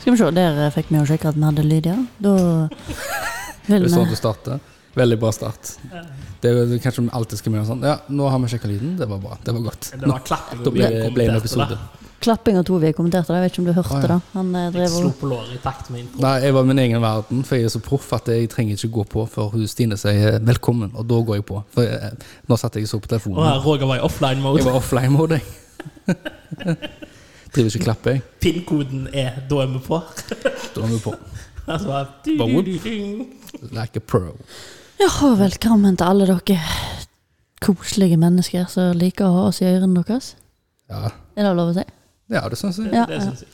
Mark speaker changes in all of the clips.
Speaker 1: Skal vi se, der eh, fikk vi jo sjekka at vi hadde lyd, ja. Da vil
Speaker 2: Det
Speaker 1: vi
Speaker 2: står at du starter. Veldig bra start. Det er jo kanskje vi alltid skal med og sånn. Ja, nå har vi sjekka lyden. Det var bra. Det var godt.
Speaker 3: Det
Speaker 2: Nå,
Speaker 3: var klapping.
Speaker 2: da ble det
Speaker 3: Vi
Speaker 2: ble en
Speaker 3: kommenterte
Speaker 2: episode.
Speaker 1: Klapping og Tove kommenterte det, jeg vet ikke om du hørte
Speaker 2: Å, ja.
Speaker 1: det. Han eh,
Speaker 3: Jeg
Speaker 1: drev
Speaker 3: slo
Speaker 1: og
Speaker 3: på låret i takt med intro.
Speaker 2: Nei, jeg var i min egen verden, for jeg er så proff at jeg trenger ikke gå på før hun Stine sier eh, 'velkommen', og da går jeg på. For eh, nå satt jeg så på
Speaker 3: Og
Speaker 2: telefonen.
Speaker 3: Roger var i offline-mode.
Speaker 2: Jeg var offline-mode, jeg. Driver ikke og klapper, jeg.
Speaker 3: Pin-koden er 'da er vi på'.
Speaker 2: Da er vi på.
Speaker 3: Altså,
Speaker 2: Bare whoop.
Speaker 3: du-du-du-du.
Speaker 2: Like a pro.
Speaker 1: Ja, og velkommen til alle dere koselige mennesker som liker å ha oss i ørene deres.
Speaker 2: Ja,
Speaker 1: Er det lov å si?
Speaker 2: ja det syns jeg.
Speaker 1: Ja,
Speaker 3: Det
Speaker 1: ja.
Speaker 3: syns jeg.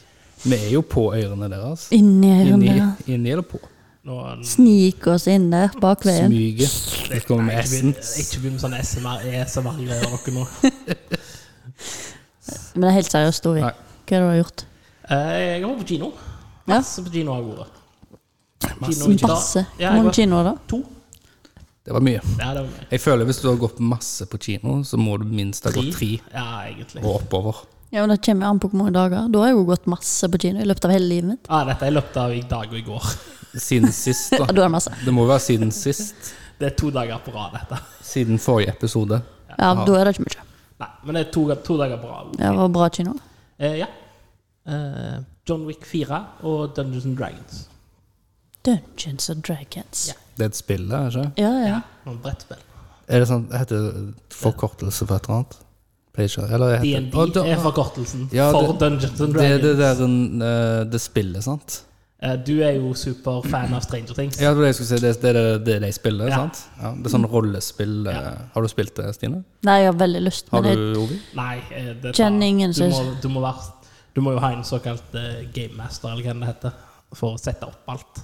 Speaker 2: Vi er jo på ørene deres.
Speaker 1: Inni
Speaker 2: Inni,
Speaker 1: ørene.
Speaker 2: inni eller på?
Speaker 3: Nå, eh,
Speaker 1: Snik oss inn der, bakveien.
Speaker 2: Smyget. Det kommer med
Speaker 3: Nei, ikke begynn- eh,
Speaker 2: S-en.
Speaker 3: Ikke begynn med sånn sånne SMR, ESMR-greier dere nå.
Speaker 1: Men det er helt seriøst, Tove.
Speaker 2: Nei.
Speaker 1: Hva er det du har gjort?
Speaker 3: Eh, Jeg var på kino.
Speaker 1: Ja.
Speaker 3: Masse på kino har jeg vært. Kino i dag.
Speaker 1: Masse.
Speaker 3: Ja,
Speaker 1: Hvor mange
Speaker 3: jeg var
Speaker 1: kinoer, da?
Speaker 3: to.
Speaker 2: Det var mye.
Speaker 3: Ja, det var meg.
Speaker 2: Jeg føler hvis du har gått masse på kino, så må du minst ha gått tre
Speaker 3: Ja, egentlig.
Speaker 2: og oppover.
Speaker 1: Ja, men Det kommer jo an på hvor mange dager. Da har jeg jo gått masse på kino i løpet av hele livet mitt.
Speaker 3: Ah, dette er i løpet av i dag og i går.
Speaker 2: Siden sist,
Speaker 1: Ja,
Speaker 2: da.
Speaker 1: da er det masse.
Speaker 2: Det må være siden sist.
Speaker 3: Det er to dager på rad, dette.
Speaker 2: Siden forrige episode.
Speaker 1: Ja, da er det ikke mye.
Speaker 3: Nei, men det er to, to dager på rad.
Speaker 1: Ja, Det var bra kino.
Speaker 3: Eh, ja. Eh, John Wick 4 og Dungeons and Dragons.
Speaker 1: Dungeons and Dragons.
Speaker 3: Ja.
Speaker 2: Det er et spill, det, er det ikke?
Speaker 1: Ja, ja.
Speaker 3: Noen brettspill.
Speaker 2: Er det sånn, Heter det forkortelse for et eller annet? Pleier ikke- Eller heter
Speaker 3: DND
Speaker 2: Å, da-
Speaker 3: er forkortelsen
Speaker 2: Ja,
Speaker 3: for
Speaker 2: det-
Speaker 3: Dungeons and
Speaker 2: Det er
Speaker 3: Dragons.
Speaker 2: det der en, eh, Det spillet, sant?
Speaker 3: Eh, du er jo superfan av Stranger Things.
Speaker 2: Ja, det var det jeg skulle si. Det det er det, det de spiller,
Speaker 3: Ja.
Speaker 2: sant? Ja, det er sånn rollespill. eh, Har du spilt det, Stine?
Speaker 1: Nei, jeg har veldig lyst,
Speaker 2: Har
Speaker 1: men jeg
Speaker 2: du, Ovi?
Speaker 3: Nei, eh, det
Speaker 1: Kjenner ingen
Speaker 3: du, må,
Speaker 1: synes-
Speaker 3: du, må være, du må jo ha en såkalt eh, gamemaster, eller hva det heter, for å sette opp alt.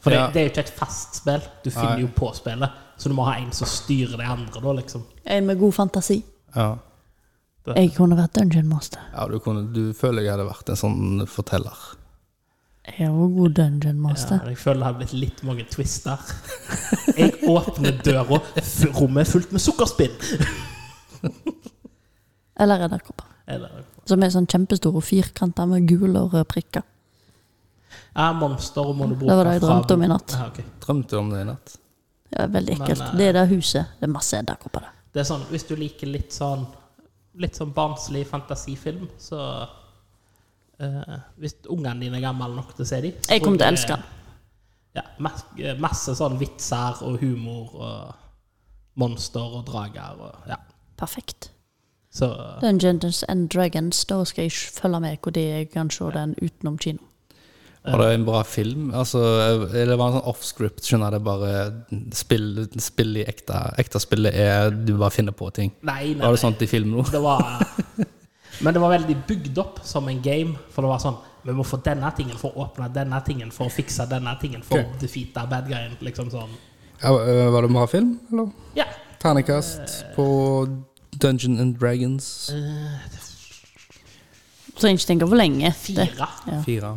Speaker 3: For det,
Speaker 2: Ja.
Speaker 3: det er jo ikke et fast spill. Du finner jo på spillet. Så du må ha en som styrer de andre, da, liksom.
Speaker 1: jeg er med god fantasi.
Speaker 2: Ja.
Speaker 1: Jeg kunne vært Dungeon Master.
Speaker 2: ja du, kunne, du føler jeg hadde vært en sånn forteller.
Speaker 1: Jeg er jo god Dungeon
Speaker 3: Ja,
Speaker 1: Master.
Speaker 3: jeg føler det har blitt litt mange twister. Jeg åpner døra, f- rommet er fullt med sukkerspinn!
Speaker 1: Eller edderkopper.
Speaker 3: Eller
Speaker 1: Som er sånn kjempestore firkanter med gule og røde prikker.
Speaker 3: ja, monster må du bruke
Speaker 1: Det var det jeg
Speaker 3: fra-
Speaker 1: drømte om i natt.
Speaker 3: Ja, ok.
Speaker 2: Drømte om det i natt.
Speaker 1: Det er veldig
Speaker 3: Men,
Speaker 1: ekkelt.
Speaker 3: eh,
Speaker 1: Det er det huset. Det er masse edderkopper der.
Speaker 3: Det er sånn, Hvis du liker litt sånn Litt sånn barnslig fantasifilm, så eh, Hvis ungene dine er gamle nok til å se dem
Speaker 1: Jeg kommer til å elske den.
Speaker 3: Ja, masse, masse sånn vitser og humor og monster og drager og Ja.
Speaker 1: Perfekt.
Speaker 3: Så
Speaker 1: Dungeons and Dragons, da skal jeg følge med hvor det er jeg kan se den utenom kino.
Speaker 2: Var det en bra film? Altså, eller var det en sånn offscript? Skjønner jeg det bare spill, spill i ekte, ekte spillet er du bare finner på ting?
Speaker 3: Nei, nei.
Speaker 2: Var det sånn
Speaker 3: nei.
Speaker 2: sånt i filmen nå?
Speaker 3: Det var Men det var veldig bygd opp som en game. For det var sånn Vi må få denne tingen for å åpne denne tingen, for å fikse denne tingen, for å
Speaker 2: Ok.
Speaker 3: defeate bad guyen. Liksom sånn.
Speaker 2: Ja, øh, var det en bra film, eller?
Speaker 3: Ja. Eh.
Speaker 2: Ternekast på Dungeon and Dragons.
Speaker 1: Så jeg ikke tenker for lenge. Det.
Speaker 3: Fire.
Speaker 1: Ja.
Speaker 2: Fire.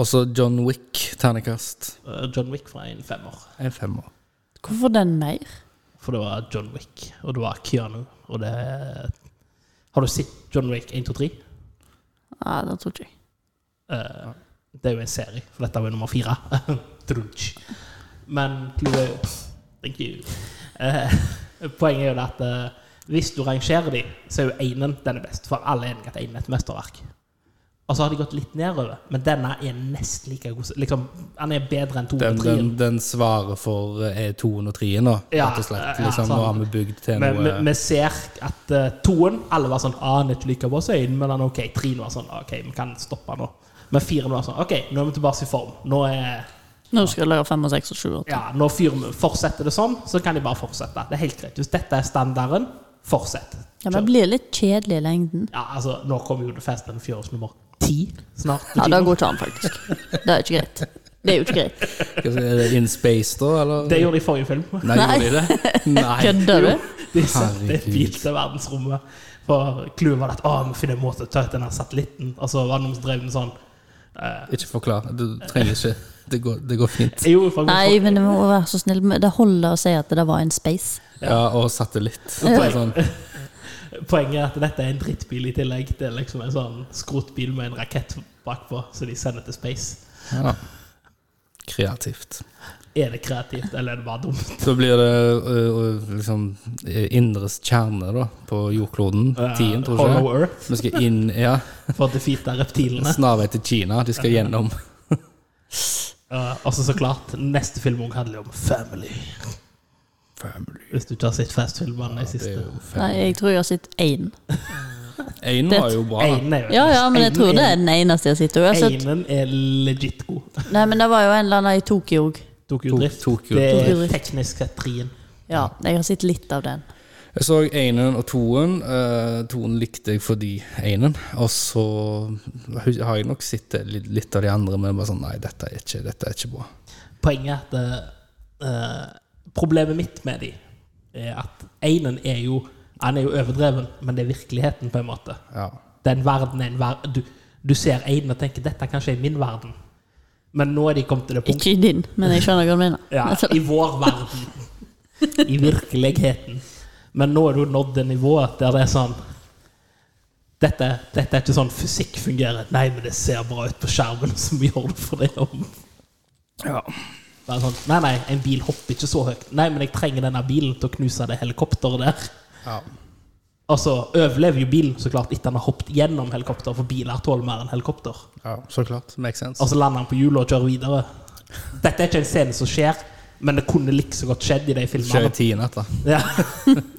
Speaker 2: Også John Wick, ternekast.
Speaker 3: Eh, John Wick fra en femmer.
Speaker 2: En femmer.
Speaker 1: Hvorfor den mer?
Speaker 3: For det var John Wick, og det var Keanu, og det Har du sett John Wick 1, 2, 3?
Speaker 1: Nei, det tror ikke jeg.
Speaker 3: Eh, det er jo en serie, for dette var jo nummer fire. Trunch. Men clouet er jo Thank you. Eh, poenget er jo det at eh, hvis du rangerer de, så er jo enen den er best. For alle er enige at enen er et mesterverk. Og så har de gått litt nedover, men denne er nesten like god. som- Liksom, han er bedre enn
Speaker 2: Den, den,
Speaker 3: 203.
Speaker 2: den svarer for eh, toen og treen, da,
Speaker 3: Ja,
Speaker 2: rett og slett.
Speaker 3: ja,
Speaker 2: Liksom,
Speaker 3: sant.
Speaker 2: nå har vi bygd til
Speaker 3: Men
Speaker 2: noe
Speaker 3: vi- vi ser at eh, toen Alle var sånn ah, han er ikke like bra som enen, men han er ok. Treen var sånn OK, vi kan stoppe nå. Men firen var sånn OK, nå er vi tilbake i form. Nå er
Speaker 1: Nå skal jeg lage fem og seks og sju og åtte.
Speaker 3: Ja, når firmaet fortsetter det sånn, så kan de bare fortsette. Det er helt greit. Hvis dette er standarden, fortsett.
Speaker 1: Ja, men det blir litt kjedelig i lengden.
Speaker 3: Ja, altså, nå kommer jo The Fast and the Furious nummer ti snart.
Speaker 1: Ja, det går ikke an, faktisk. Det er ikke greit. Det er jo ikke greit.
Speaker 2: Hva skal- Er det In Space, da? Eller?
Speaker 3: Det gjorde de i forrige film.
Speaker 2: Nei,
Speaker 1: Nei.
Speaker 2: gjorde de det? Nei.
Speaker 1: Kødder du?
Speaker 3: De sendte
Speaker 2: Herregud.
Speaker 3: en bil til verdensrommet. For clouet var at å, vi finner en måte å ta ut denne satellitten. Og så var det noen som drev med sånn eh,
Speaker 2: Ikke forklar. Du trenger ikke. Det går, det går fint.
Speaker 3: jo, for
Speaker 1: Nei, men det må være så snill. med- Det holder å si at det var en space.
Speaker 2: Ja, og satellitt. Bare Sånn,
Speaker 3: Poenget er at dette er en drittbil i tillegg til liksom en sånn skrotbil med en rakett bakpå, så de sender til space.
Speaker 2: Ja. da. Kreativt.
Speaker 3: Er det kreativt, eller er det bare dumt?
Speaker 2: Så blir det ø, ø, liksom indres kjerne da, på jordkloden. Tiden, tror jeg.
Speaker 3: Eh, Hollow Earth
Speaker 2: Vi skal inn ja,
Speaker 3: for å defeate reptilene.
Speaker 2: snarvei til Kina. De skal gjennom.
Speaker 3: Uh, og så så klart, neste film også handler om family. Hvis du ikke har sett Fast-filmene de
Speaker 2: Det
Speaker 3: siste.
Speaker 2: er jo
Speaker 1: Nei,
Speaker 2: fem.
Speaker 1: jeg tror jeg har sett én.
Speaker 2: Én var jo bra. da.
Speaker 3: Einen er jo-
Speaker 1: Ja ja, men jeg tror det er altså- den eneste jeg har sett. Og jeg har sett
Speaker 3: Einen er legit god.
Speaker 1: nei, men det var jo en eller annen i Tokyo òg.
Speaker 3: Tokyo Drift.
Speaker 2: Tokyo
Speaker 3: det er
Speaker 1: Drift.
Speaker 3: teknisk sett trien.
Speaker 1: Ja, jeg har sett litt av den.
Speaker 2: Jeg så Einen og Toen. Uh, toen likte jeg fordi Einen. Og så har jeg nok sett litt, litt av de andre, men bare sånn Nei, dette er ikke, dette er ikke bra.
Speaker 3: Poenget er at eh, Problemet mitt med de er at Einen er jo Han er jo overdreven, men det er virkeligheten, på en måte.
Speaker 2: Ja.
Speaker 3: Den verden er en verden du, du ser Einen og tenker 'dette kanskje er min verden', men nå er de kommet til det punktet
Speaker 1: Ikke i din, men jeg skjønner hva du mener.
Speaker 3: Ja,
Speaker 1: Altså,
Speaker 3: I vår verden. I virkeligheten. Men nå er du nådd det nivået der det er sånn dette, dette er ikke sånn fysikk fungerer. Nei, men det ser bra ut på skjermen, så vi gjør det for det om.
Speaker 2: ja.
Speaker 3: Bare sånn, nei, nei, en bil hopper ikke så høyt. Nei, men jeg trenger denne bilen til å knuse det helikopteret der.
Speaker 2: ja.
Speaker 3: Og så overlever jo bilen så klart etter han har hoppet gjennom helikopter, for biler tåler mer enn helikopter.
Speaker 2: ja så klart. Makes sense.
Speaker 3: Og så lander han på hjulet og kjører videre. Dette er ikke en scene som skjer, men det kunne like så godt skjedd i de filmene.
Speaker 2: Kjører tiden etter.
Speaker 3: Ja.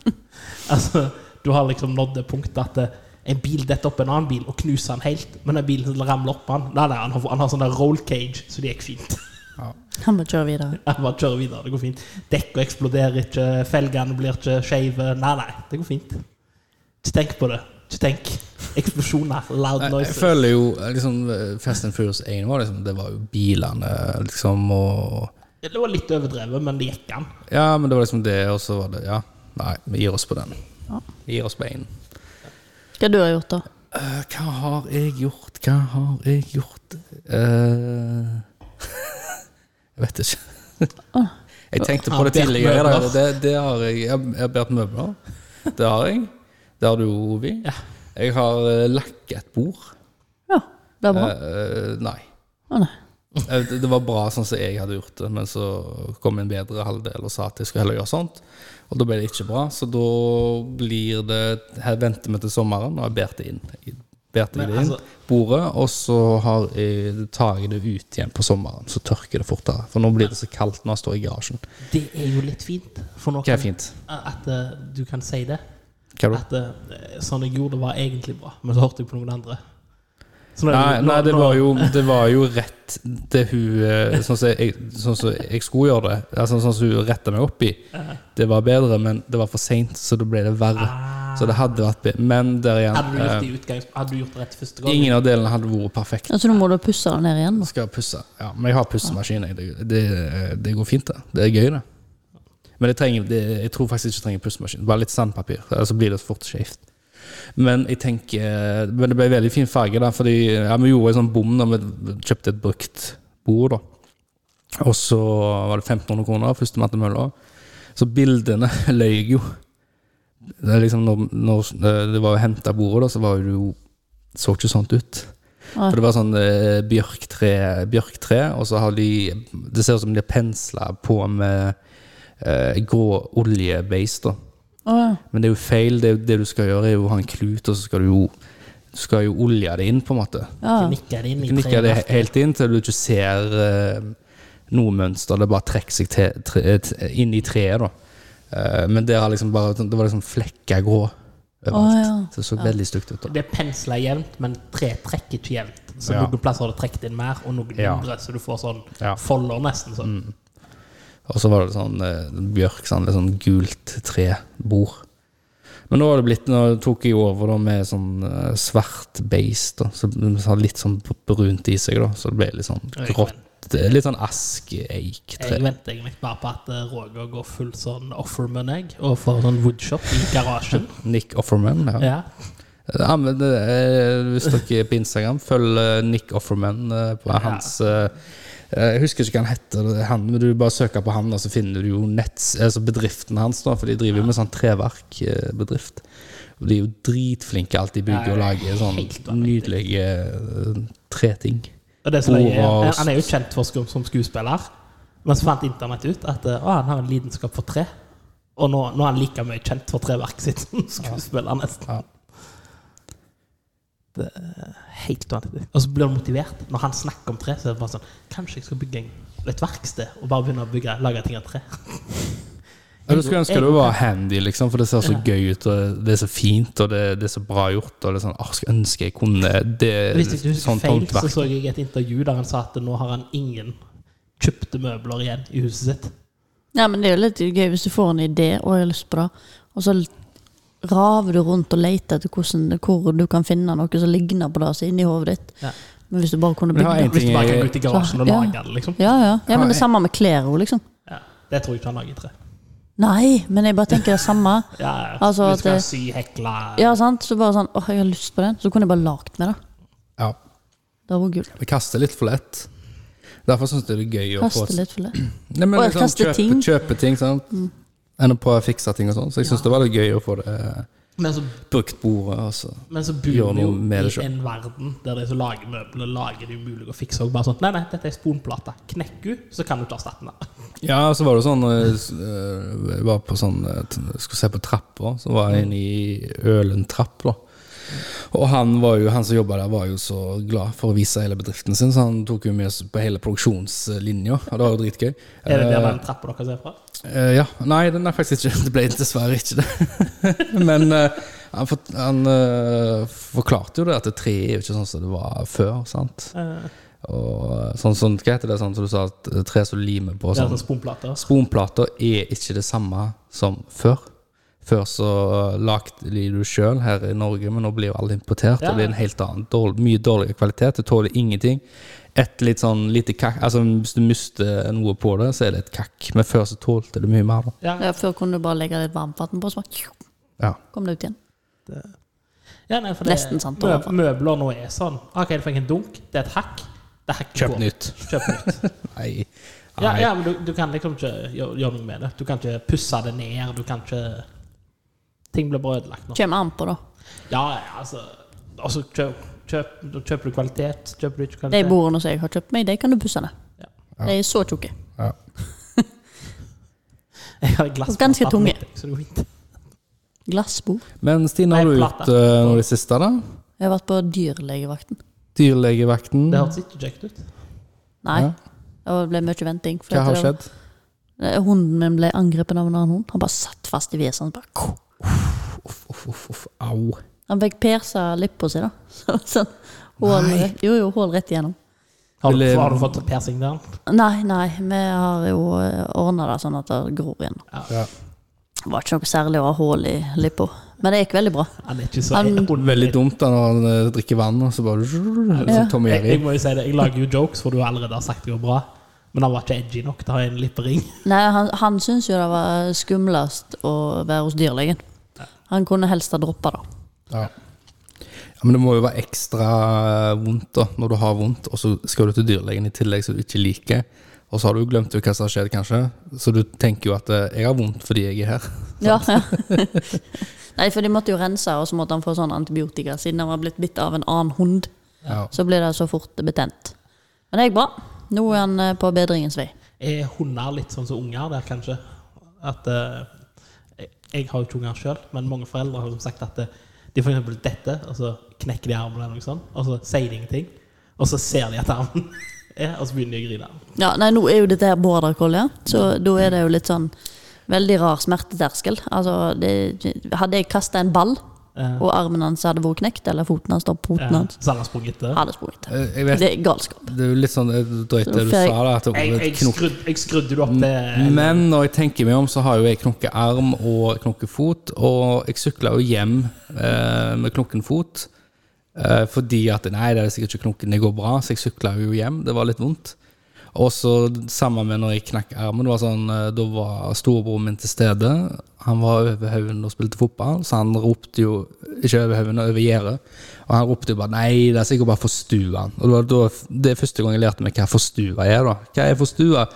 Speaker 3: altså, du har liksom nådd det punktet at eh, en bil detter opp en annen bil og knuser han helt, men den bilen ramler opp han. Nei, nei, han har, han har sånn der roll cage, så det gikk fint.
Speaker 2: Ja.
Speaker 1: han må kjøre videre.
Speaker 3: Han bare kjører videre, det går fint. Dekka eksploderer ikke, felgene blir ikke skeive. Nei, nei, det går fint. Ikke tenk på det. Ikke tenk. Eksplosjoner,
Speaker 2: Jeg,
Speaker 3: loud
Speaker 2: jeg
Speaker 3: noises.
Speaker 2: føler jo eh, liksom eh, Fast and Furious 1 var liksom Det var jo bilene, liksom, og
Speaker 3: Det var litt overdrevet, men det gikk an.
Speaker 2: Ja, men det var liksom det, og så var det Ja, nei, vi gir oss på den. Vi gir oss på én.
Speaker 1: Hva du har gjort, da?
Speaker 2: Eh, hva har jeg gjort? Hva har jeg gjort? Eh, jeg vet ikke. jeg tenkte på det
Speaker 3: Har Bert
Speaker 2: tidligere. i dag.
Speaker 3: møbler?
Speaker 2: Det, det har jeg. Jeg har- jeg har båret møbler. Det har jeg. Det har du, Ovi. Jeg har eh, lakket et bord.
Speaker 1: Ja, det er bra.
Speaker 2: Eh, nei.
Speaker 1: Å nei.
Speaker 2: Eh, Det det var bra sånn som jeg hadde gjort det, men så kom en bedre halvdel og sa at jeg skulle heller gjøre sånt. Og da ble det ikke bra, så da blir det Her venter vi til sommeren, og jeg ber det inn. Jeg ber det
Speaker 3: Men
Speaker 2: inn
Speaker 3: altså-
Speaker 2: bordet, og så har jeg, tar jeg det ut igjen på sommeren. Så tørker det fortere. For nå blir det så kaldt når jeg står i garasjen.
Speaker 3: Det er jo litt fint for noen
Speaker 2: Hva er fint?
Speaker 3: at eh, du kan si det.
Speaker 2: Hva er det?
Speaker 3: At eh, sånn jeg gjorde, det var egentlig bra, men så hørte jeg på noen andre. Så nå er
Speaker 2: Nei,
Speaker 3: nå-
Speaker 2: nei det,
Speaker 3: nå-
Speaker 2: var jo, det var jo rett det hun eh, Sånn som jeg, sånn som jeg skulle gjøre det. Altså, sånn som hun retta meg opp i. Det var bedre, men det var for seint, så da ble det verre. Så det hadde vært bedre. Men der
Speaker 3: Ah.
Speaker 2: igjen
Speaker 3: Hadde du gjort
Speaker 2: eh,
Speaker 3: det, i utgangs, hadde du gjort det rett første gang?
Speaker 2: Ingen av delene hadde vært perfekt.
Speaker 1: Altså, nå må du pusse den ned igjen. da.
Speaker 2: Skal pusse. Ja, men jeg har pussemaskin. jeg. Det, det, det går fint, det. Det er gøy, det. Men jeg, trenger, det, jeg tror faktisk ikke jeg trenger pussemaskin. Bare litt sandpapir, ellers så blir det fort skjevt. Men jeg tenker Men det ble veldig fin farge, da, fordi ja, vi gjorde en sånn bom da vi kjøpte et brukt bord, da. Og så var det 1500 kroner, førstemann til mølla. Så bildene løy jo. Det er liksom når, når det var henta bordet, da, så var det jo Så ikke sånt ut.
Speaker 1: Nei.
Speaker 2: For det var sånn eh, bjørktre, bjørktre, og så har de Det ser ut som de har pensla på med eh, grå oljebase, da.
Speaker 1: Å ja.
Speaker 2: Men det er jo feil. Det, er jo- det du skal gjøre, er jo å ha en klut, og så skal du jo du skal jo olje det inn, på en måte.
Speaker 1: ja. ja.
Speaker 3: Nikka det inn i
Speaker 2: Du knikker det
Speaker 3: treet.
Speaker 2: helt inn til du ikke ser eh, noe mønster. Det bare trekker seg til, tre, eh, t- inn i treet, da. Eh, men der har liksom bare, det var liksom flekker grå overalt.
Speaker 1: Å, ja.
Speaker 2: Så det så veldig stygt ut. da.
Speaker 3: Det pensler jevnt, men treet trekker ikke jevnt. Så
Speaker 2: Ja.
Speaker 3: noen plasser har det trukket inn mer, og noen
Speaker 2: Ja.
Speaker 3: mindre, så du får sånn
Speaker 2: Ja. Mm,
Speaker 3: folder nesten sånn.
Speaker 2: Og så var det sånn eh, bjørk, sånn, litt sånn gult trebord. Men nå har det blitt, nå tok jeg over da med sånn eh, svart beist, da, så det har litt sånn brunt i seg, da, så det ble litt sånn
Speaker 3: Jeg
Speaker 2: grått. eh, Litt sånn
Speaker 3: Jeg
Speaker 2: askeeik-tre.
Speaker 3: venter egentlig bare på at eh, Roger går full sånn offerman egg og får sånn woodshop i garasjen.
Speaker 2: Nick Offerman. Ja.
Speaker 3: Ja.
Speaker 2: Ja, men det er, hvis dere er på Instagram, følg eh, Nick Offerman eh, på hans eh, Jeg husker ikke hva han heter, det er han, men du bare søker på han, og så finner du jo netts, altså bedriften hans, da, for de driver jo med sånn treverkbedrift. Og de er jo dritflinke alt de bygger og
Speaker 3: Ja,
Speaker 2: lager sånn
Speaker 3: helt vanvittig.
Speaker 2: nydelige eh, treting.
Speaker 3: Og det som jeg,
Speaker 2: Wow.
Speaker 3: han er jo kjent for sku- som skuespiller, men så fant internett ut at eh, å, han har en lidenskap for tre. Og nå, nå er han like mye kjent for treverket sitt som skuespiller, nesten.
Speaker 2: Ja.
Speaker 3: Det er helt vanvittig. Og så blir han motivert. Når han snakker om tre, så er det bare sånn Kanskje jeg skal bygge en, et verksted og bare begynne å bygge, lage ting av tre.
Speaker 2: Ja, du skulle ønske du var handy, liksom, for det ser så gøy ut, og det er så fint, og det, det er så bra gjort. Og det er sånn, åh, skulle ønske jeg kunne det sånn
Speaker 3: Hvis jeg ikke husker
Speaker 2: sånt
Speaker 3: feil, så
Speaker 2: håndverk.
Speaker 3: så jeg et intervju der han sa at nå har han ingen kjøpte møbler igjen i huset sitt.
Speaker 1: Ja, men det er jo litt gøy hvis du får en idé og har lyst på det, og så raver du rundt og leter etter hvordan, hvor du kan finne noe som ligner på det som er inni hodet ditt.
Speaker 3: Ja.
Speaker 1: Men hvis du bare kunne
Speaker 2: Men jeg
Speaker 1: bygd
Speaker 2: har en
Speaker 1: det
Speaker 3: Hvis du bare kan gå ut i garasjen og
Speaker 1: Ja.
Speaker 3: lage det, liksom.
Speaker 1: ja, ja. ja, men
Speaker 2: Har
Speaker 1: det
Speaker 2: jeg-
Speaker 1: samme med klær òg, liksom.
Speaker 3: Ja, det tror jeg ikke han lager i tre.
Speaker 1: Nei, men jeg bare tenker det samme.
Speaker 3: Ja, ja.
Speaker 1: Altså
Speaker 3: du skal
Speaker 1: at det-
Speaker 3: sy, hekle
Speaker 1: Ja, sant? Så bare sånn åh, jeg har lyst på den. Så kunne jeg bare lagd med det.
Speaker 2: Ja,
Speaker 1: Det var gull.
Speaker 2: vi kaster litt for lett. Derfor syns jeg det er gøy å få
Speaker 1: Kaste litt for det.
Speaker 2: Nei, men
Speaker 1: Og
Speaker 2: liksom,
Speaker 1: kaste
Speaker 2: kjøpe,
Speaker 1: ting. Mm.
Speaker 2: ting. kjøpe ting, sant. Enn å prøve å fikse ting og sånn. Så jeg syns det var litt gøy å få det eh,
Speaker 3: Men så,
Speaker 2: brukt bordet. altså. og så-
Speaker 3: men så
Speaker 2: Gjør
Speaker 3: bor
Speaker 2: noe
Speaker 3: vi jo
Speaker 2: med det
Speaker 3: i
Speaker 2: selv.
Speaker 3: en verden der de som lager møbler, lager det umulig å fikse. Og bare sånn Nei, nei, dette er sponplate. Knekker du, så kan du ikke erstatte den.
Speaker 2: Ja, så var det sånn eh, s- eh, Jeg var på sånn eh, t- Skulle se på trappa, så var jeg inne i Ølen trapp, da. Og han, var jo, han som jobba der, var jo så glad for å vise hele bedriften sin, så han tok jo med oss på hele produksjonslinja, og det var jo dritgøy.
Speaker 3: Er det der
Speaker 2: Eh,
Speaker 3: den trappa dere ser fra?
Speaker 2: eh, ja. Nei, den er faktisk ikke Det ble dessverre ikke det. Men eh, han, fort, han eh, forklarte jo det, at det treet er jo ikke sånn som det var før, sant.
Speaker 3: Eh,
Speaker 2: Og sånn som Hva heter det sånn som du sa, at tre som limer på
Speaker 3: det er
Speaker 2: sånn
Speaker 3: sånn sponplater.
Speaker 2: Sponplater er ikke det samme som før. Før så lagde de det sjøl her i Norge, men nå blir jo alle importert.
Speaker 3: Ja.
Speaker 2: Og det er en helt annen, dårlig, mye dårligere kvalitet. Det tåler ingenting. Et litt sånn lite kakk Altså Hvis du mister noe på det, så er det et kakk. Men før så tålte det mye mer. da
Speaker 3: Ja.
Speaker 1: Ja, før kunne du bare legge litt varmt vann på, så bare tju,
Speaker 2: Ja.
Speaker 1: kom det ut igjen.
Speaker 3: Ja, nei, for det,
Speaker 1: Nesten sant, i
Speaker 3: mø
Speaker 1: hvert fall.
Speaker 3: Møbler nå er sånn. OK, du fikk en dunk. Det er et hakk. Det er hakk i
Speaker 2: Kjøp
Speaker 3: går.
Speaker 2: nytt.
Speaker 3: Kjøp nytt.
Speaker 2: Nei.
Speaker 3: Ja,
Speaker 2: Nei.
Speaker 3: ja, men du, du kan liksom ikke gjøre, gjøre noe med det. Du kan ikke pusse det ned. Du kan ikke Ting blir bare ødelagt nå.
Speaker 1: Kommer an på, da.
Speaker 3: Ja, ja, altså, altså kjøp, kjøp, da kjøper du kvalitet, kjøper du ikke
Speaker 1: De
Speaker 3: kvalitet.
Speaker 1: bordene som jeg har kjøpt meg, de kan du pusse ned.
Speaker 3: Ja.
Speaker 1: De er så tjukke.
Speaker 2: Ja.
Speaker 3: Jeg har glass
Speaker 1: Ganske
Speaker 3: på
Speaker 1: tunge.
Speaker 3: staten, så det går fint.
Speaker 1: Glassbord.
Speaker 2: Men Stine, har du
Speaker 3: Nei, plate.
Speaker 2: gjort eh, noe i det siste, da?
Speaker 1: Jeg har vært på dyrlegevakten.
Speaker 2: Dyrlegevakten?
Speaker 3: Det hørtes ikke kjekt ut.
Speaker 1: Nei,
Speaker 2: Ja.
Speaker 1: det ble mye venting. for
Speaker 2: Hva
Speaker 1: at
Speaker 2: har
Speaker 1: det var-
Speaker 2: skjedd?
Speaker 1: Eh, Hunden min ble angrepet av en annen hund. Han bare satt fast i vesen. Bare, ko.
Speaker 2: Uff, uff, uff, uff, au.
Speaker 1: han fikk persa lippa si, da. Så, sånn, hål, jo, jo, hål rett igjennom.
Speaker 3: Har du,
Speaker 2: Ville-
Speaker 3: har du fått persing der?
Speaker 1: Nei, nei, vi har jo ordna det sånn at det gror igjen.
Speaker 2: Ja.
Speaker 1: Det var ikke noe særlig å ha hål i lippa, men det gikk veldig bra.
Speaker 3: Han er ikke så
Speaker 1: Han-
Speaker 3: hunden-
Speaker 2: Veldig dumt da når han eh, drikker vann, og så bare
Speaker 1: Ja.
Speaker 2: sånn Tom og
Speaker 3: Jeg,
Speaker 2: Jerry.
Speaker 3: jeg må jo si det, jeg lager jo jokes, for du allerede har sagt det går bra. Men han var ikke edgy nok til å ha en lippering.
Speaker 1: Nei, han, han syntes jo det var skumlest å være hos dyrlegen. Han kunne helst ha droppa det.
Speaker 2: Ja. ja, Men det må jo være ekstra eh, vondt da, når du har vondt, og så skal du til dyrlegen i tillegg som du ikke liker. Og så har du jo glemt jo hva som har skjedd, kanskje. Så du tenker jo at eh, jeg har vondt fordi jeg er her.
Speaker 1: Ja, ja. Nei, for de måtte jo rense, og så måtte han få sånn antibiotika siden han var blitt bitt av en annen hund.
Speaker 2: Ja.
Speaker 1: Så blir det så fort betent. Men det gikk bra. Nå er han eh, på bedringens vei.
Speaker 3: Er hunder litt sånn som unger der, kanskje? At eh, jeg- Jeg har jo ikke unger sjøl, men mange foreldre har jo sagt at eh, de for eksempel dette, og så knekker de armen eller noe sånt, og så sier de ingenting. Og så ser de at armen er, og så begynner de å grine.
Speaker 1: Ja, nei, nå er jo dette her border collie, så da er det jo litt sånn veldig rar smerteterskel. Altså, det, hadde jeg kasta en ball,
Speaker 3: Eh,
Speaker 1: og armen hans hadde vært knekt, eller foten hans stoppet på
Speaker 3: Ja,
Speaker 1: foten hans,
Speaker 3: Så han har sprunget det.
Speaker 1: hadde jeg sprunget.
Speaker 2: Eh, Jeg vet,
Speaker 1: Det er galskap.
Speaker 2: det er jo litt sånn eh, drøyt det du
Speaker 1: Fer-
Speaker 2: sa, da, at
Speaker 3: Jeg,
Speaker 2: ordet
Speaker 3: jeg,
Speaker 2: knok.
Speaker 3: skrudde, jeg skrudde det opp til
Speaker 2: Men når jeg tenker meg om, så har jo jeg knokkearm og knokkefot, og jeg sykla jo hjem eh, med knokkenfot eh, fordi at Nei, det er sikkert ikke knokken, det går bra, så jeg sykla jo hjem. Det var litt vondt. Og så sammen med når jeg knakk armen, det var sånn, eh, da var storebroren min til stede. Han var over haugen og spilte fotball, så han ropte jo ikke over haugen, men over gjerdet. Og han ropte jo bare 'nei, det er sikkert bare forstua'. Og det, var da, det er første gang jeg lærte meg hva forstua er, da. Hva er forstua?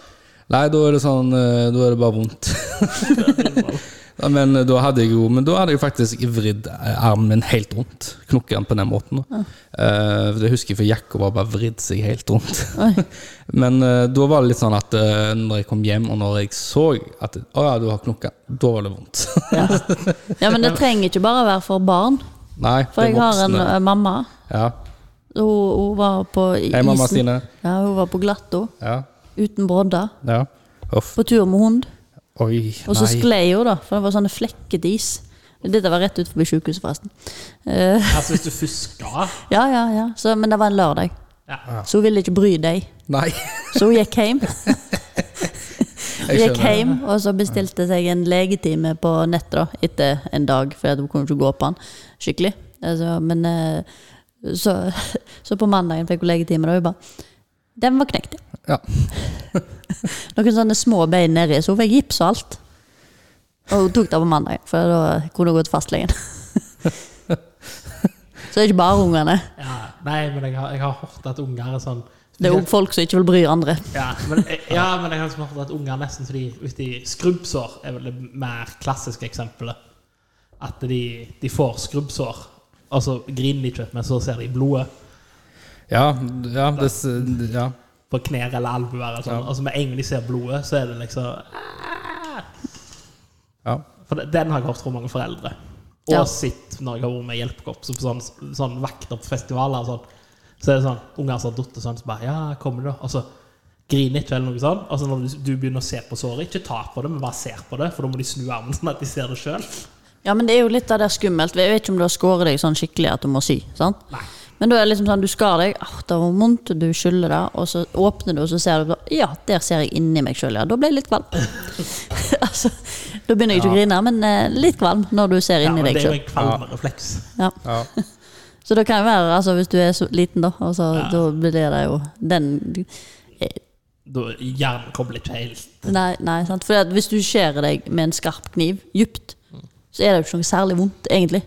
Speaker 2: Nei, da er det sånn eh, Da er det bare vondt. Ja, Men da hadde jeg jo Men da hadde jeg faktisk vridd eh, armen min helt rundt. Knokket den på den måten. Da. Eh, det husker jeg, for jakka var bare vridd seg helt rundt. men eh, da var det litt sånn at eh, når jeg kom hjem, og når jeg så at Å ja, du har knokket. Da var det vondt.
Speaker 1: Ja. ja, men det trenger ikke bare være for barn.
Speaker 2: Nei,
Speaker 1: For
Speaker 2: det
Speaker 1: jeg
Speaker 2: er
Speaker 1: har en
Speaker 2: voksne.
Speaker 1: eh, mamma.
Speaker 2: Ja.
Speaker 1: Hun, hun var på i-
Speaker 2: Hei, mamma
Speaker 1: isen.
Speaker 2: Stine.
Speaker 1: Ja, hun var på Glatto,
Speaker 2: Ja.
Speaker 1: uten brodder.
Speaker 2: ja. Uff.
Speaker 1: På tur med hund.
Speaker 2: Oi,
Speaker 1: Og så
Speaker 2: nei.
Speaker 1: sklei hun, da, for det var sånne flekket is. Dette var rett ut forbi sykehuset, forresten. Eh,
Speaker 3: Altså, hvis du først skal
Speaker 1: ja, ja, ja. Så, men det var en lørdag,
Speaker 3: ja.
Speaker 1: så hun ville ikke bry deg.
Speaker 2: Nei.
Speaker 1: Så hun gikk hjem. Hun
Speaker 2: Jeg
Speaker 1: gikk
Speaker 2: skjønner.
Speaker 1: hjem og så bestilte seg en legetime på nett da, etter en dag, for hun kunne ikke gå på den skikkelig. Altså, men eh, så, så på mandagen fikk hun legetime, og hun bare Den var knekt.
Speaker 2: Ja.
Speaker 1: Noen sånne små bein nedi, så hun fikk gips og alt. Og hun tok det på mandag, for da kunne hun gå til fastlegen. så det er ikke bare ungene.
Speaker 3: ja. Nei, men jeg har, jeg har hørt at unger er sånn
Speaker 1: Det er òg folk som ikke vil bry andre.
Speaker 3: Ja, men, ja, men jeg har liksom hørt at unger nesten så de, hvis de skrubbsår, er vel det mer klassiske eksempelet. At de, de får skrubbsår, og så griner de ikke, men så ser de blodet
Speaker 2: Ja, ja, det, s- ja.
Speaker 3: på knær eller albuer. eller sånn. Og så med en gang de ser blodet, så er det liksom
Speaker 2: ja.
Speaker 3: For det- den har jeg hørt fra mange foreldre. Og
Speaker 1: Ja.
Speaker 3: sitt når jeg har vært med i hjelpekorps og på sånn, sånn vakter på festivaler. og Sånn, så er det sånn unger som har datt og sånn, så bare Ja, kommer du, da? Og så griner ikke eller noe sånt. Og så når du, du begynner å se på såret, ikke ta på det, men bare ser på det, for da må de snu armen sånn at de ser det sjøl.
Speaker 1: Ja, men det er jo litt av det skummelt. Jeg vet ikke om du har skåret deg sånn skikkelig at du må sy. sant?
Speaker 3: Nei.
Speaker 1: Men da er det liksom sånn, du skar deg, ah, det var vondt, du skyller det, og så åpner du, og så ser du Ja, der ser jeg inni meg sjøl, ja. Da ble jeg litt kvalm. altså, da begynner jeg ikke å grine, men eh, litt kvalm når du ser
Speaker 3: Ja,
Speaker 1: inni
Speaker 3: men
Speaker 1: deg
Speaker 3: det er jo
Speaker 1: sjøl.
Speaker 3: en kvalmerefleks.
Speaker 1: Ja.
Speaker 2: ja.
Speaker 1: Så det kan jo være, altså, hvis du er så liten, da, og så, da blir det jo den
Speaker 3: Da hjernen kobler ikke helt
Speaker 1: Nei, nei sant. For at hvis du skjærer deg med en skarp kniv dypt, så er det jo ikke noe særlig vondt, egentlig.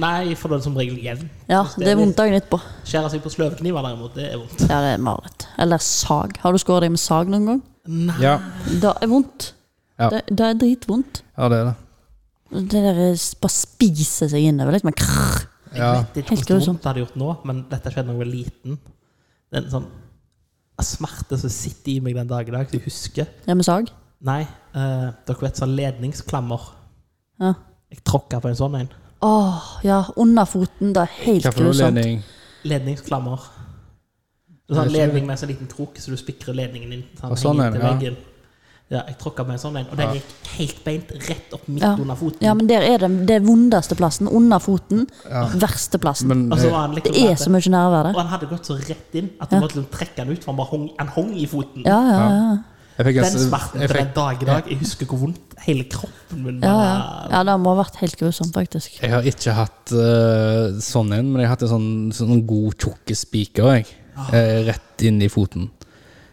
Speaker 3: Nei, for det er som regel jevn.
Speaker 1: Ja,
Speaker 3: Hvis det
Speaker 1: det
Speaker 3: er
Speaker 1: er vondt dagen etterpå.
Speaker 3: Skjærer seg på sløvekniver, derimot, det er vondt.
Speaker 1: Ja, det er mareritt. Eller sag. Har du skåret deg med sag noen gang?
Speaker 2: ja.
Speaker 1: Det er vondt.
Speaker 2: Ja.
Speaker 1: Det, det er dritvondt.
Speaker 2: Ja, det er det.
Speaker 1: Det der er s- bare spiser seg innover. Liksom. Krrr.
Speaker 2: Ja.
Speaker 3: vet ikke
Speaker 1: Helt
Speaker 3: hvordan
Speaker 1: grusomt.
Speaker 3: vondt det hadde gjort nå, men dette skjedde da jeg var liten. Det er en sånn smerte som sitter i meg den dag i dag, som jeg husker.
Speaker 1: Det er med sag.
Speaker 3: Nei, eh, dere vet sånn ledningsklammer.
Speaker 1: Ja.
Speaker 3: Jeg tråkka på en sånn en.
Speaker 1: Åh, ja. Under foten. Det er helt
Speaker 2: Hva for noe
Speaker 1: grusomt.
Speaker 2: ledning?
Speaker 3: Ledningsklammer. En
Speaker 2: Jeg
Speaker 3: sånn
Speaker 2: skjønner.
Speaker 3: ledning med en sånn liten krok, så du spikrer ledningen inn.
Speaker 2: Og sånn
Speaker 3: henger
Speaker 2: en,
Speaker 3: til
Speaker 2: ja.
Speaker 3: veggen. Ja, jeg tråkka på en sånn en, og den
Speaker 2: Ja.
Speaker 3: gikk helt beint rett opp midt
Speaker 1: Ja.
Speaker 3: under foten.
Speaker 1: Ja, men der er det det vondeste plassen. Under foten.
Speaker 2: Ja.
Speaker 1: Verste plassen.
Speaker 2: Men
Speaker 3: og så var han
Speaker 1: Det
Speaker 3: liksom
Speaker 1: er
Speaker 3: at-
Speaker 1: så mye nerver
Speaker 3: Og
Speaker 1: der.
Speaker 3: han hadde gått så rett inn at du måtte liksom trekke han ut, for han bare hong, han hong i foten.
Speaker 1: Ja, ja, ja.
Speaker 2: jeg fikk
Speaker 3: Den
Speaker 2: en
Speaker 3: smerten
Speaker 2: jeg
Speaker 3: til
Speaker 2: fikk-
Speaker 3: den dag i dag. Jeg husker hvor vondt hele kroppen min
Speaker 1: Ja,
Speaker 3: var.
Speaker 1: ja. ja, det må ha vært helt grusomt, faktisk.
Speaker 2: Jeg har ikke hatt eh, sånn en, men jeg har hatt en sånn, sånn god, tjukke spiker jeg. Eh, rett inn i foten.